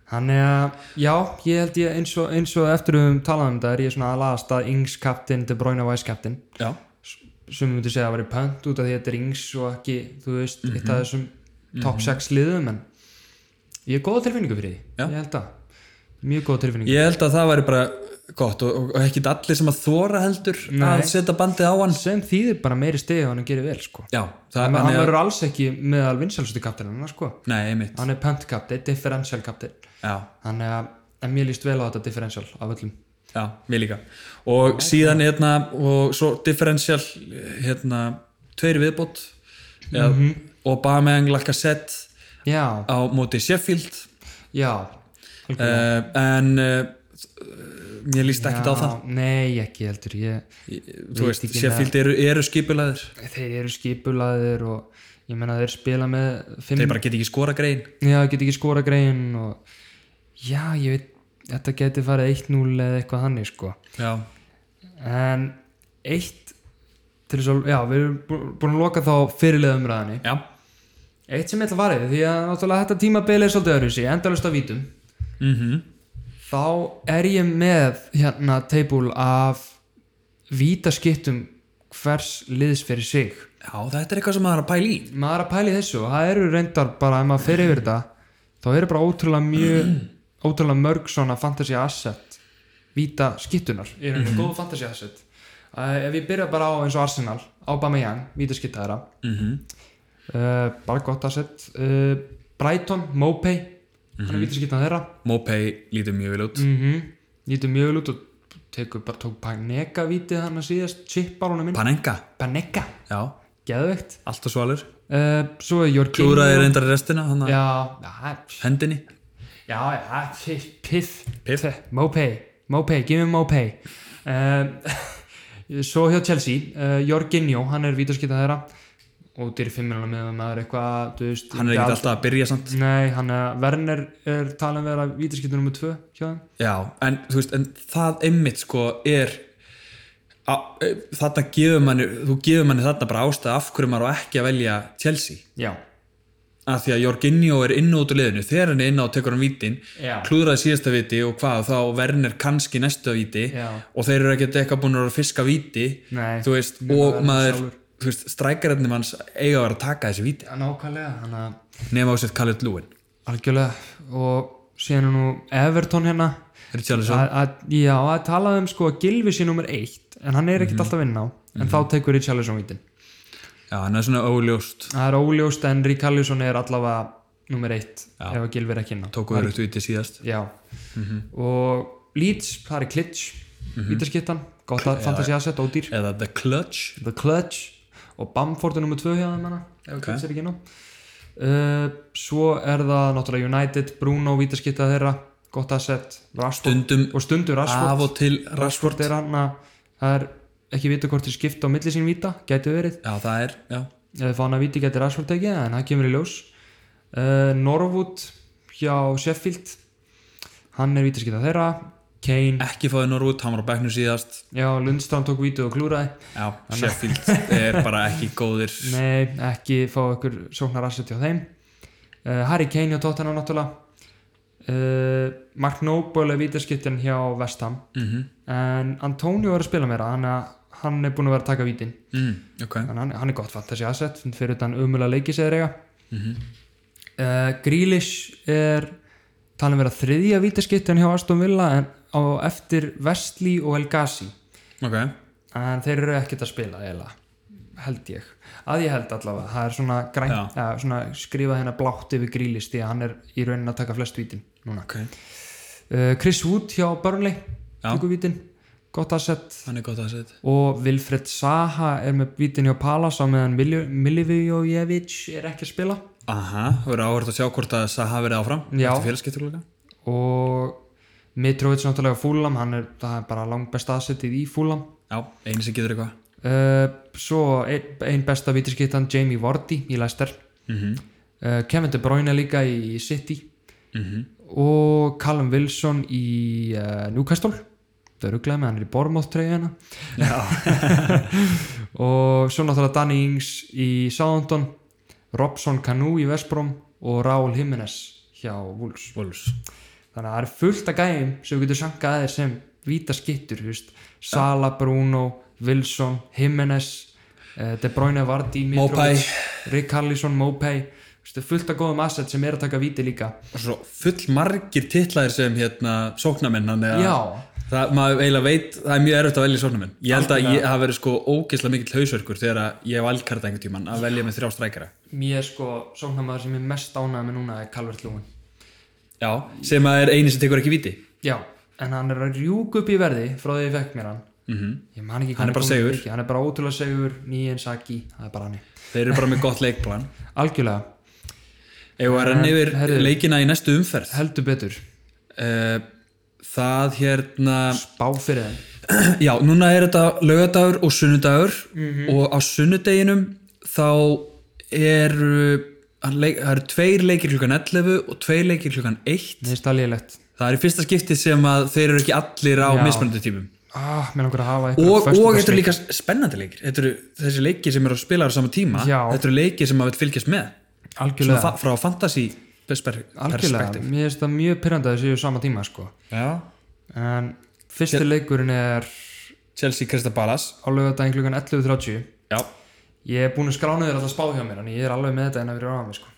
Þannig að, já, ég held ég eins og, eins og eftir við höfum talað um þetta er ég svona að laðast að Ings kaptinn, De Bruyne Vice kaptinn já, sem myndi segja að vera pönt út af því að þetta er Ings og ekki, þú veist, eitt Mhm. af þessum top 6 liðum en ég er góða tilfinningu fyrir því, Já. ég held að mjög góða tilfinningu ég held að það væri bara gott og, og, og ekki allir sem að þóra heldur Nei. að setja bandið á hann sem þýðir bara meiri stegi og hann gerir vel sko Já, það hann, er hann hann er, verður alls ekki meðal vinsælstu kaptinn sko. nei, einmitt hann er pönt kaptinn, differential kaptinn Já, þannig að, en mér líst vel á þetta differential af öllum já, við líka og síðan hérna og svo differential hérna, tveir í viðbót ja, Mhm. og Bameng Lacazette já, á móti Sheffield já, algjörlega. uh, en uh, ég líst ekkert á það Já, Nei, ekki heldur ég, þú Veit veist, ekki Sheffield eru, eru skipulæðir Þeir eru skipulaðir og ég meina þeir spila með fimm, þeir bara get ekki skora grein Já, get ekki skora greiðin og já, ég veit þetta geti farið 1-0 eða eitthvað þannig sko já, en eitt til þess að, já, við erum bú- búin að loka þá fyrirlega umræðinni já, Eitt sem ég ætla að varðið, því að náttúrulega þetta tímabilið er svolítið öðru sig, endalust af vítum mm Þá er ég með hérna teipul af vítaskiptum hvers liðs fyrir sig já þetta er eitthvað sem maður er að pæla í maður er að pæla í þessu og það eru reyndar bara ef maður fer yfir þetta þá eru bara ótrúlega mjög ótrúlega mörg svona fantasy asset víta skittunar er einhver góð fantasy asset uh, ef ég byrja bara á eins og Arsenal Aubameyang, víta skitta þeirra mm uh, bara gott asset uh, Brighton, Mopey hann er víta skitta þeirra Mopey lítur mjög vel út mm lítur mjög vel út og tekur bara tók Paneka vítið hann að síðast chippar honum inn Panenka, Paneka já, geðveikt alltaf svalur uh, svo er Jorginho klúraði reyndar restina, hann að já, já, hendinni já, já piff, piff, Piff. Mopay, Mopay, give me Mopay um, svo hjá Chelsea uh, Jorginho, hann er vítaskita þeirra og dyrir fimmina með maður eitthvað þú veist, hann er gjald- ekkert alltaf að byrja samt Nei, hann er, Werner er talað um að vera vítaskiptur nummer 2 hjá þeim. Já, en þú veist, en það einmitt sko er á- e, þarna gefur manni, þú gefur manni þarna bara ástæð af hverju maður á ekki að velja Chelsea, Já. af því að Jorginho er inn og út úr liðinu, þegar hann er inn á og tekur hann vítin, Já. klúðraði síðasta viti og hvað, þá verðin er kannski næsta víti Já. og þeir eru ekkert eitthvað búin að vera að fiska víti, Nei. þú veist, nema og Werner maður sjálfur. þú veist, strækarinnum hans eiga að vera að taka þessi víti, Já, nákvæmlega, hann að nema á sér Khaled Lúin algjörlega og síðan er nú Everton hérna Richarlison, að, að- já, að talað um sko að Gylfi sé nummer 1 en hann er Mhm. ekkert alltaf inn á en þá tekur Richarlison vítin. já, hann er svona óljóst Það er óljóst en Richarlison er allavega nummer 1 Já. Mhm. ef að Gylfi er ekki inn á. tóku verið víti síðast Já. Og Leeds, það er Klitsch, mm Mhm. -hmm. vítaskiptan, gott að fantasíasett, ódýr. eða The Clutch The Clutch og Bamford er nummer 2 hjá þeim hana ef Ok. okay. er ekki nú uh, svo er það náttúrulega United Bruno vítaskipta þeirra gott asset Rashford stundum og stundur af Rashford og til Rashford Rashford er hann að það er ekki vita hvort þeir skipta á milli sín víta gæti verið já það er, já, ef þeir fá hann að víti gæti Rashford ekki en það kemur í ljós uh, Norwood hjá Sheffield hann er vítaskipta þeirra Kane ekki fáið Norwood, hann var á bekknu síðast já Lundstrand tók vítið og klúraði já, Sheffield er bara ekki góðir Nei, ekki fá ykkur sóknar asset hjá þeim uh, Harry Kane hjá Tottenham náttúrulega uh, Mark Noble er vítaskiptin hjá Vestham mm en Antonio er að spila meira hann, að, hann er búin að vera að taka vítin mm, ok, en hann, hann er gott fantasy asset fyrir utan umulega leikis eða eiga Mhm. uh, Grealish er talin vera þriðja vítaskiptin hjá Aston Villa en á eftir Vestley og El Ghazi ok en þeir eru ekkert að spila eiginlega held ég, að ég held allavega það er svona, græn, Já. ja, svona skrifað hérna blátt yfir grílis því að hann er í raunin að taka flest vítin núna ok, uh, Chris Wood hjá Burnley Já. tekur vítin, gott asset hann er gott að setja og Vilfred Saha er með vítin hjá Palace á meðan Miljo- Milivojevic er ekki að spila aha, verður áhört að sjá hvort að það hafi verið áfram Já. eftir félagskiptuleika og Mitrovic náttúrulega Fúlam, hann er, það er bara langbest aðsettið í Fúlam já, eini sem getur eitthvað Uh, svo ein, ein besta vítaskittan Jamie Vardy í Leicester Mhm, uh, Kevin De Bruyne líka í City mhm, og Callum Wilson í uh, Newcastle þau rugglaði með hann er í Bournemouth treyjana og svo náttúrulega Danny Ings í Southampton Robson Canu í Vestbrom og Raúl Jiménez hjá Wolves Wolves, þannig að það er fullt af gæðum sem við getum sankað aðeins sem víta skittur veist. Sala, Bruno, Wilson Jimenez, eh, De Bruyne Vardí, Mitrovic, Rick Harlison Mopay, Þú veist, það er fullt af góðum asset sem er að taka víti líka og svo full margir titlaðir sem hérna sóknamenn, hann er Já. Það, maður eiginlega veit, það er mjög erfitt að velja sóknarmenn. Ég held að ég hafa verið sko ógeðslega mikill hausverkur þegar að ég hef alkarta einhvern tíman að velja með þrjá strækjara. mér sko, sóknarmaður sem ég mest ánæði með núna er Calvert Lúin Já, sem að er eini sem tekur ekki viti já, en hann er að rjúk upp í verði frá því ég fekk mér hann mm ég man ekki hvað Hann er bara kominn seigur. mikið. hann er bara ótrúlega segur, nýjens Saki það er bara hann Þeir eru bara með gott leikplan algjörlega, Ef að renna yfir Herðu. leikina í næstu umferð heldur betur uh, Það hérna spá fyrir þeim Já, núna er þetta lögadagur og sunnudagur og á sunnudeginum þá eru hann leik, það eru tveir leikir klukkan 11 og tveir leikir klukkan 1 mér finnst það lélegt Það er í fyrsta skipti sem að þeir eru ekki allir á Já. mismunandi tímum ah, mér langar að hafa einhverja og, og þetta föstudagsleiki. eru líka spennandi leikir Þetta eru þessi leikir sem eru að spila á sama tíma Já. Þetta eru leikir sem maður vill fylgjast með Svona algjörlega, fa- frá fantasy persper- algjörlega. perspektiv mér finnst það mjög pyrrandi að þessu sama tíma sko. Já. en fyrsti Hérna- leikurinn er á Chelsea Krista Ballas lögadaginn klukkan 11.30 Já. ég er búin að skrána þér alltaf spá hjá mér en ég er alveg með þetta en að vera á mig sko.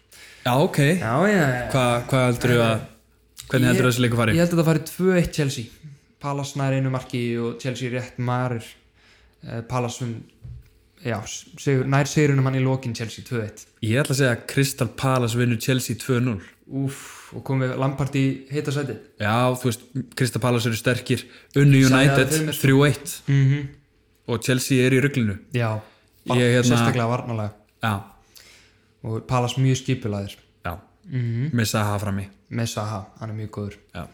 Já, ok já, já, já. Hva, Hvað heldur þú að hvernig heldur þú að þessi leiku fari? ég held að það fari 2-1 Chelsea Palace nær einu marki og Chelsea rétt marir Eh, Palace um já, sigur, nær sigurinn um hann í lokin Chelsea 2-1 Ég ætla að segja að Crystal Palace vinnur Chelsea 2-0 Úff, og komið Lampard í heita sæti Já, þú veist, Crystal Palace eru sterkir unnu Sagði það United fyrir mér, 3-1 sko. mm -hmm. og Chelsea er í ruglinu já, bara Mhm. Ég, hérna- sérstaklega varnalega já, og Palas mjög skipulaðir já með Saha frammi með Saha, hann Mhm. er mjög góður já.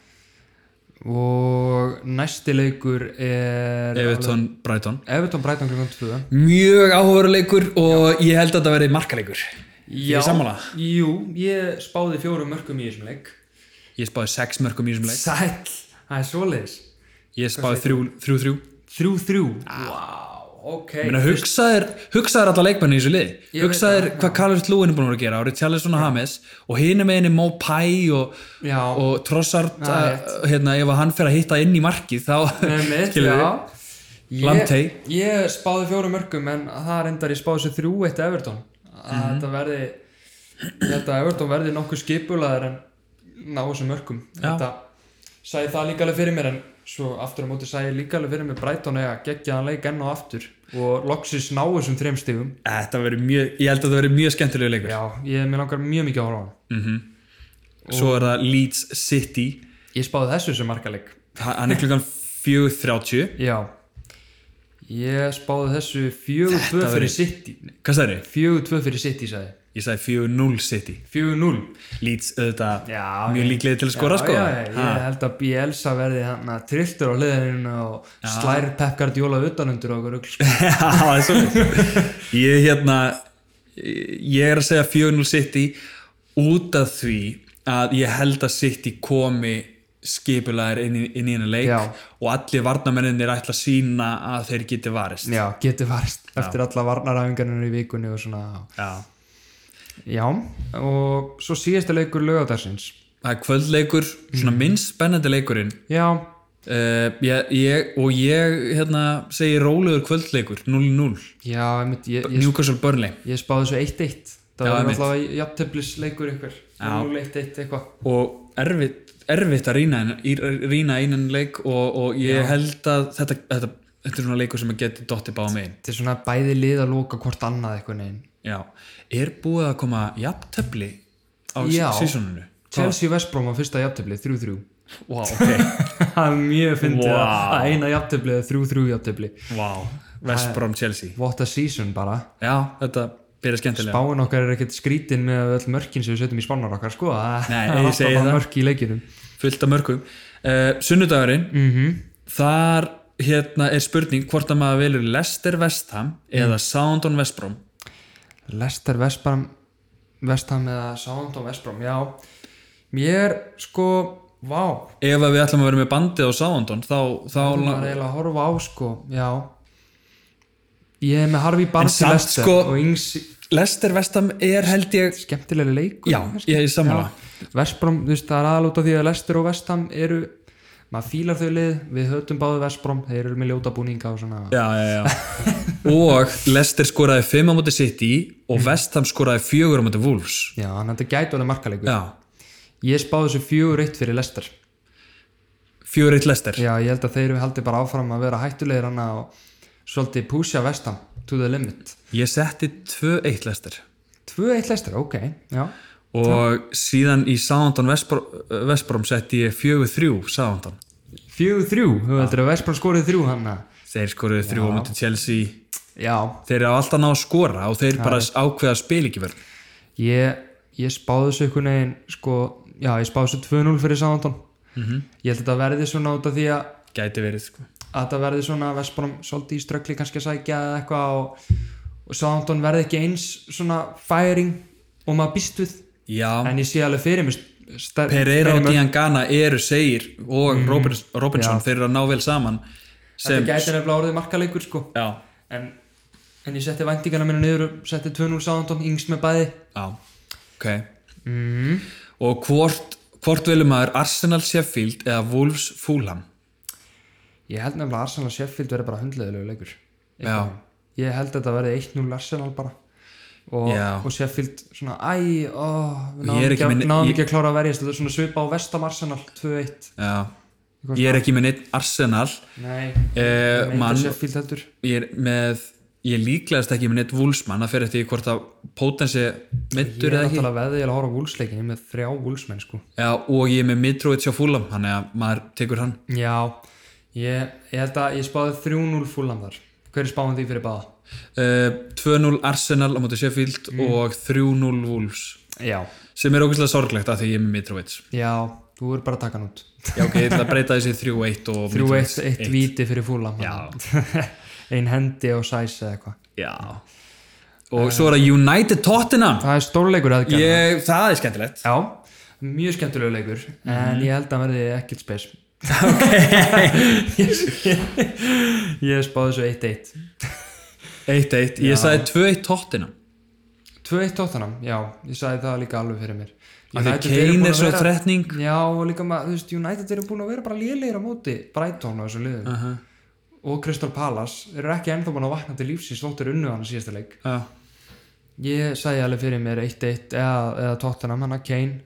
og og næsti leikur er Everton Brighton Everton Brighton klukkan 2 mjög áhugaveruleikur og ég held að þetta verði markaleikur Já, Ég sammála. Jú, ég spáði fjórum mörgum í þessum leik ég spáði 6 mörgum í þessum leik Sæll, það er svoleiðis ég spáði 3-3 Þrjú, þrjú Wow, ok Ég meina, hugsaðir, hugsaðir alla leikmenni í þessu lið Ég hugsaðir veit það, hvað Calvert Lúin er búin að vera að gera og Richarlison og James og hinum einu Mo Pai og, Já. og Trossard Já, að- hérna, ef að hann fer að hitta inn í markið þá Einmitt, skilur við já. Ég- Lamptey. Ég spáði fjórum mörgum en það er endar ég spáði þessu þrjú eitt Everton að Mhm. þetta verði ég held að Everton verði nokkuð skipulaðar en ná þessu mörgum Já. þetta sagði það líka alveg fyrir mér en svo aftur á móti sagði ég líka alveg fyrir mér Brighton eða geggjaðan leik enn og aftur og loksis ná þessum þreim stigum Þetta verður mjög, ég held að þetta verður mjög skemmtilegu leikur já, ég mér langar mjög mikið að horfa á hann svo er það Leeds City ég spáði þessu sem markaleik Ha- hann er klukkan 4.30 já ég spáði þessu fjögur tvö Þetta verður- fyrir City hvað sagði þið? fjögur tvö fyrir City sagði ég. Ég sagði 4-0 City 4-0 Leeds auðvitað Já, mjög líklega til að skora sko já, já, Ha. ég held að Bielsa verði hann að trilltur á hliðinu og slær Pep Guardiola utanundur og okkur rugl, sko. Já, það er svolítið. ég hérna ég er að segja 4-0 City út af því að ég held að City komi skipulæðir inn, í- inn í hennar leik Já. og allir varnamenninir ætla að sína að þeir geti varist já, getur varst eftir alla varnaræfingarnir í vikunni og svona Já. já, og svo síðasta leikur lögadagsins það er kvöldleikur, Mhm. svona minnst spennandi leikurinn já, uh, ég, ég, og ég hérna, segi rólegur kvöldleikur 0-0, já, einmitt, ég, ég, Newcastle Burnley ég spáði svo 1-1 það Já, var einmitt. alltaf jafntöflis leikur ykkur 0-1-1 eitthvað og erfitt, erfitt að rýna inn- í- rýna einan leik og, og ég held að þetta, þetta, þetta er svona leikur sem að geti dotti bá mig þetta er svona bæði lið að loka hvort annað eitthvað neginn Já, er búið að koma jafntefli á Já. sísoninu? Chelsea Vestbrom á fyrsta jafntöfli, 3-3 Wow, ok, það er mjög fyndið Vá. að að eina jafntöfli eða þrjú þrjú jafntöfli wow West Brom Chelsea what a season bara Já, þetta byrja skemmtilega báin okkar er ekkert skrítin með öll mörkin sem við setjum í spannar okkar sko það Nei, er ég alltaf segi bara það. mörk í leikinum fullt af mörgum uh, Sunnudagurinn, mhm þar hérna er spurning hvort að maður velur Leicester West Ham eða Soundon West Brom Lester Vestbram Vestham eða Soundon Vestbrom já, mér sko vá, Ef að við ætlum að vera með bandið á Soundon þá, þá það er eiginlega að horfa á sko já ég er með Harfi Barfi samt, Lester sko- og yngs Leicester West Ham er held ég skemmtilega leikur Já, ég er sammála. Vestbrom, þú veist, það er aðalóta því að Lester og Vestham eru maður fílar þau lið, við höfðum báðu Vestbrom þeir eru með ljóta búninga og svona Já, já, já. og Leicester skoraði 5 á móti City og West Ham skoraði 4 á móti Wolves Já, þannig að þetta gæti alveg markaleikur Já, Ég spáði þessu fjögur eitt fyrir Lester 4-1 Leicester Já, ég held að þeir eru haldið bara áfram að vera hættulegir hann og svolítið púsja vestam to the limit Ég setti 2-1 Leicester 2-1 Lester, ok, já og síðan í Southampton Vestbrom, Vestbrom setti ég 4-3 Southampton Fjögur þrjú, þú heldur að Vestbrom skorið þrjú hann Þeir skoruðu 3 á móti Chelsea Já, Þeir eru alltaf ná að skora og þeir bara ákveða spil ekki verð ég, ég spáði þessu einhvern veginn sko, já, ég spáði þessu 2-0 fyrir Sándon Mhm. Ég held að þetta verði svona út af því að Gæti verið sko að það verði svona Vestbrom svolítið í ströggli kannski að sækja eða eitthvað og, og Sándon verði ekki eins svona færing og maður býst við Já, en ég sé alveg fyrir mér stær, Pereira og fyrir mér- Diangana eru segir og Robins, Robinson, þeir eru að ná vel saman Mhm. þetta sem, gæti nefnilega orðið markaleikur sko já, en, en ég setti væntingarna minna niður og setti 2-0 Sándon yngst með bæði já ok Mhm. og hvort, hvort velum maður Arsenal Sheffield eða Wolves Fulham ég held nefnilega að Arsenal og Sheffield verði bara hundleðilegu leikur Já. ég held að þetta verði 1-0 Arsenal bara og, Já. og Sheffield svona æ, ó, Ég er við náðum ekki ekki, með- ekki, náðum ég- ekki að klára að verjast þetta er svona svipa á vestam Arsenal 2-1 já, ég er ekki með neitt Arsenal Nei, Eh, meita mann- Sheffield heldur ég er með ég er líklegast ekki með neitt Wolfsmann að fyrir eftir hvort að potensi Ég mittur er eða ekki náttúrulega veðið að horfa á vúlsleikin Ég er með þrjá vúlsmenn sko já, og ég er með Mitrovic á Fulham þannig að maður tekur hann Já, ég, ég held að ég spáði 3-0 fúlan þar Hver er spáðan því fyrir báða? uh, 2-0 Arsenal á móti Sheffield Mm. og 3-0 Wolves já, sem er ógeðslega sorglegt af því ég er með Mitrovic já, þú verður bara að taka hann út já ok, ég ætla að breyta þessi í 3-1 og 3-1, Mitrovic eitt víti fyrir fúla Já. ein hendi og sæs eða eitthvað já og svo er það United Tottenham það er stórleikur aðgjörna ég, það er skemmtilegt já, mjög skemmtilegu leikur en ég held að hann verði ekkert spes ok ég, ég spáði þessu 1-1 1-1, ég sagði 2-1 Tottenham 2-1 Tottenham, já, ég sagði það líka alveg fyrir mér af því United eru búin Kane að er svo vera- þretning Já, og líka maður, þú veist, United eru búin að vera bara lélegir á móti Brighton og þessu liðum Aha. og Crystal Palace eru ekki ennþá búin að vakna til lífsins þóttur unnu hann síðasta leik Já. Ég sagði alveg fyrir mér 1-1 eða, eða Tottenham, hann að Kane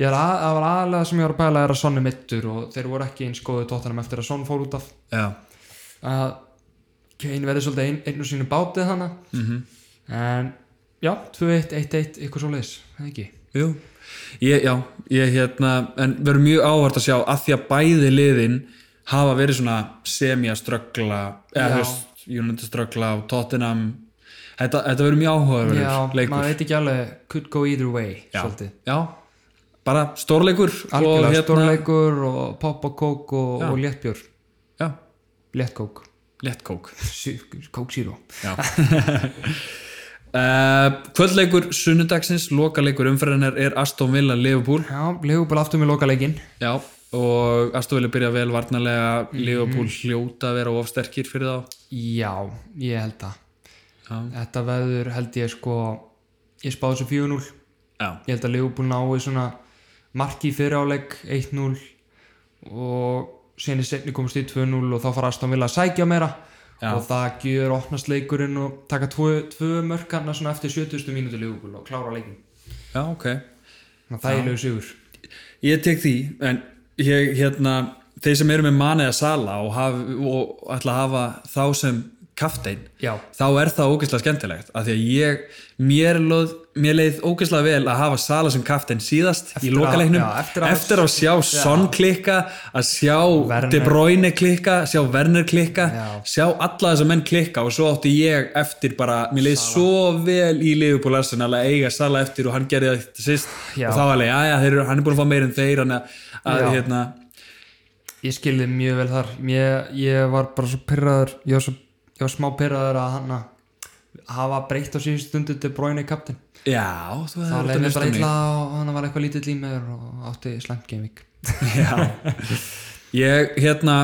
Ég er að, það var aðlega sem ég var að pæla er að Sonni mittur og þeir voru ekki eins góðu Tottenham eftir að Son fór út af já, að Kane verði svolítið ein, einu sínu bátið hana Mhm. en já, 2-1, 1-1, eitthvað svo leis, ekki jú ég, já, ég hérna en verður mjög áhvert að sjá að því að bæði liðin hafa verið svona semjaströggla Já. eða höst, United ströggla og Tottenham þetta, þetta verður mjög áhugaverður Já, maður leikur veit ekki alveg, could go either way já, svolítið já, bara stórleikur Algjörlega og hérna, stórleikur og pop og kók og, og léttbjör já, Léttkók lettkók Kók síró uh, kvöldleikur sunnudagsins, lokaleikur umferðinar er Aston Villa Liverpool Já, Leopold aftur með lokaleikinn já, og Aston Villa byrja vel varnarlega Mhm. Liverpool hljóta að vera ofsterkir fyrir þá Já, ég held það Já. Þetta veður held ég sko Ég spáði þessu 4-0 já, Ég held að Leopold nái svona marki í fyrri áleik 1-0 og síðan í setni komst í 2-0 og þá fara Aston Villa að sækja meira Já. og það gjör opnast leikurinn og taka tvö, tvö mörkarna svona eftir 70. mínútu Leopold og klára leikin já, ok Þannig að það er lög sigur Ég tek því, en ég, hérna, þeir sem eru með manni eða sala og, haf, og ætla að hafa þá sem kaftein, Já, þá er það ógeðslega skemmtilegt, af því að ég, mér, loð, mér leið ógeðslega vel að hafa sala sem kaftein síðast Eftir í að- lokaleiknum, já, eftir eftir, að- að sjá Son klikka, að sjá Werner. De Bruyne klikka, sjá Werner klikka, Já. sjá alla þessa menn klikka og svo átti ég eftir bara, mér leið svo vel í Liverpool Arsenal að eiga sala eftir og hann gerði þetta sýst Já. og þá var alveg, já, já, þeir, eru- hann er búin að fá meir en þeir hann að, að Já. hérna, ég skilði mjög vel þar ég, ég var bara svo pyrraður ég var, svo, ég var smá pyrraður að hann hafa breytt á síðustu stundu til bróinu kaptinn já, þú þá hefði leiði mér bara illa og hann var eitthvað lítið límaður og átti slæmt gaming Já, ég, hérna,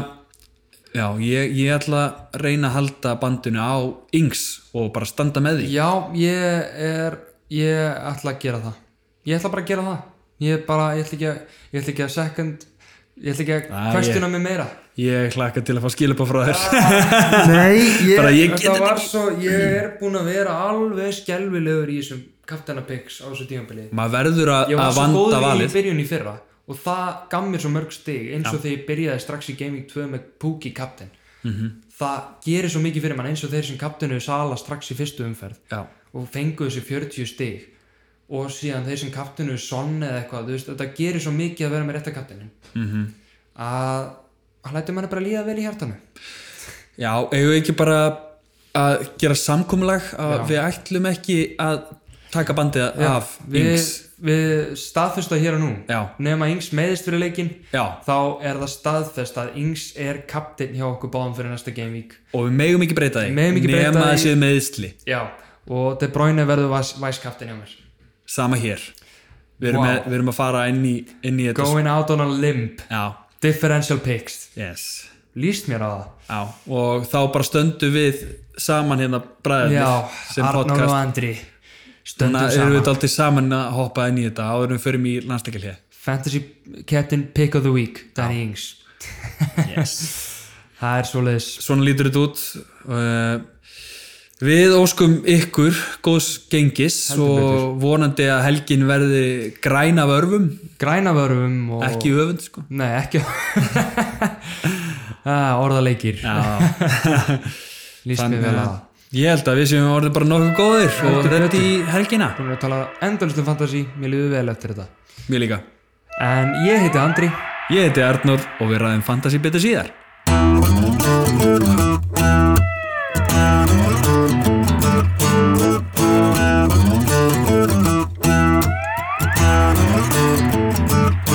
já, ég, ég ætla að reyna að halda bandinu á yngs og bara standa með því. já, ég er ég ætla að gera það ég ætla bara að gera það ég, bara, ég, ætla, ekki að, ég ætla ekki að second ég ætla ekki Ah, að kvestuna mig meira Ég hlakka til að fá skilabá frá þér. Nei, ég, Bara ég get þetta var svo ég er búin að vera alveg skelvilegur í þessum kapteinapiks á þessu tímanbilið Maður verður að, ég var að svo góður vanda í valið. byrjun í fyrra og það gaf mér svo mörg stig eins og þegar ég byrjaði strax í Gaming 2 með Pookie Captain -hmm. Mhm. það gerir svo mikið fyrir mann eins og þeir sem Captainu sala strax í fyrstu umferð Já, og fengu þessi 40 stig og síðan þeir sem Captainu sonn eða eitthvað, þú veist, þetta gerir svo mikið að vera með rétta Captainu mm Mhm. -hmm. að hann lætur mann bara líða vel í hjartanu já, eigum við ekki bara að gera samkomulag að við ætlum ekki að taka bandið af við, yngs. við staðfesta hér og nú Já. nema Yngs meðist fyrir leikinn Já. þá er það staðfest að Yngs er kaptinn hjá okkur báðum fyrir næsta Game Week Og við megum ekki breyta því. Við megum ekki breyta Nema því. að séu meðisli. já, og De Bruyne verður væskaptinn hjá mér Sama hér. Við erum, Vá. með, við erum að fara inn í, inn í þetta. going out on a limb, Já, differential picks yes. líst mér á það Já, og þá bara stöndu við saman hérna já, bræðinir sem Arnór og podcast. Andri Þannig stöndum að erum saman við aldrei saman að hoppa inn í þetta áður en við förum í landstakil hér. fantasy captain pick of the week Danny Yngs Yes. það er svoleiðis Svona lítur þetta út. Uh, Við óskum ykkur góðs gengis Heldur betur. og vonandi að helgin verði græna vörfum, grænavörfum og ekki öfund sko. nei, ekki ah, orðaleikir Já, líst mér þannig vel á að það ég held að við séum orðin bara nokkuð góðir og Heldur þetta í helgina. Búin að tala endalustum fantasi, mér liður vel eftir þetta. Mér líka. En ég heiti Andri. Ég heiti Arnór og við ræðum fantasy betur síðar. Takk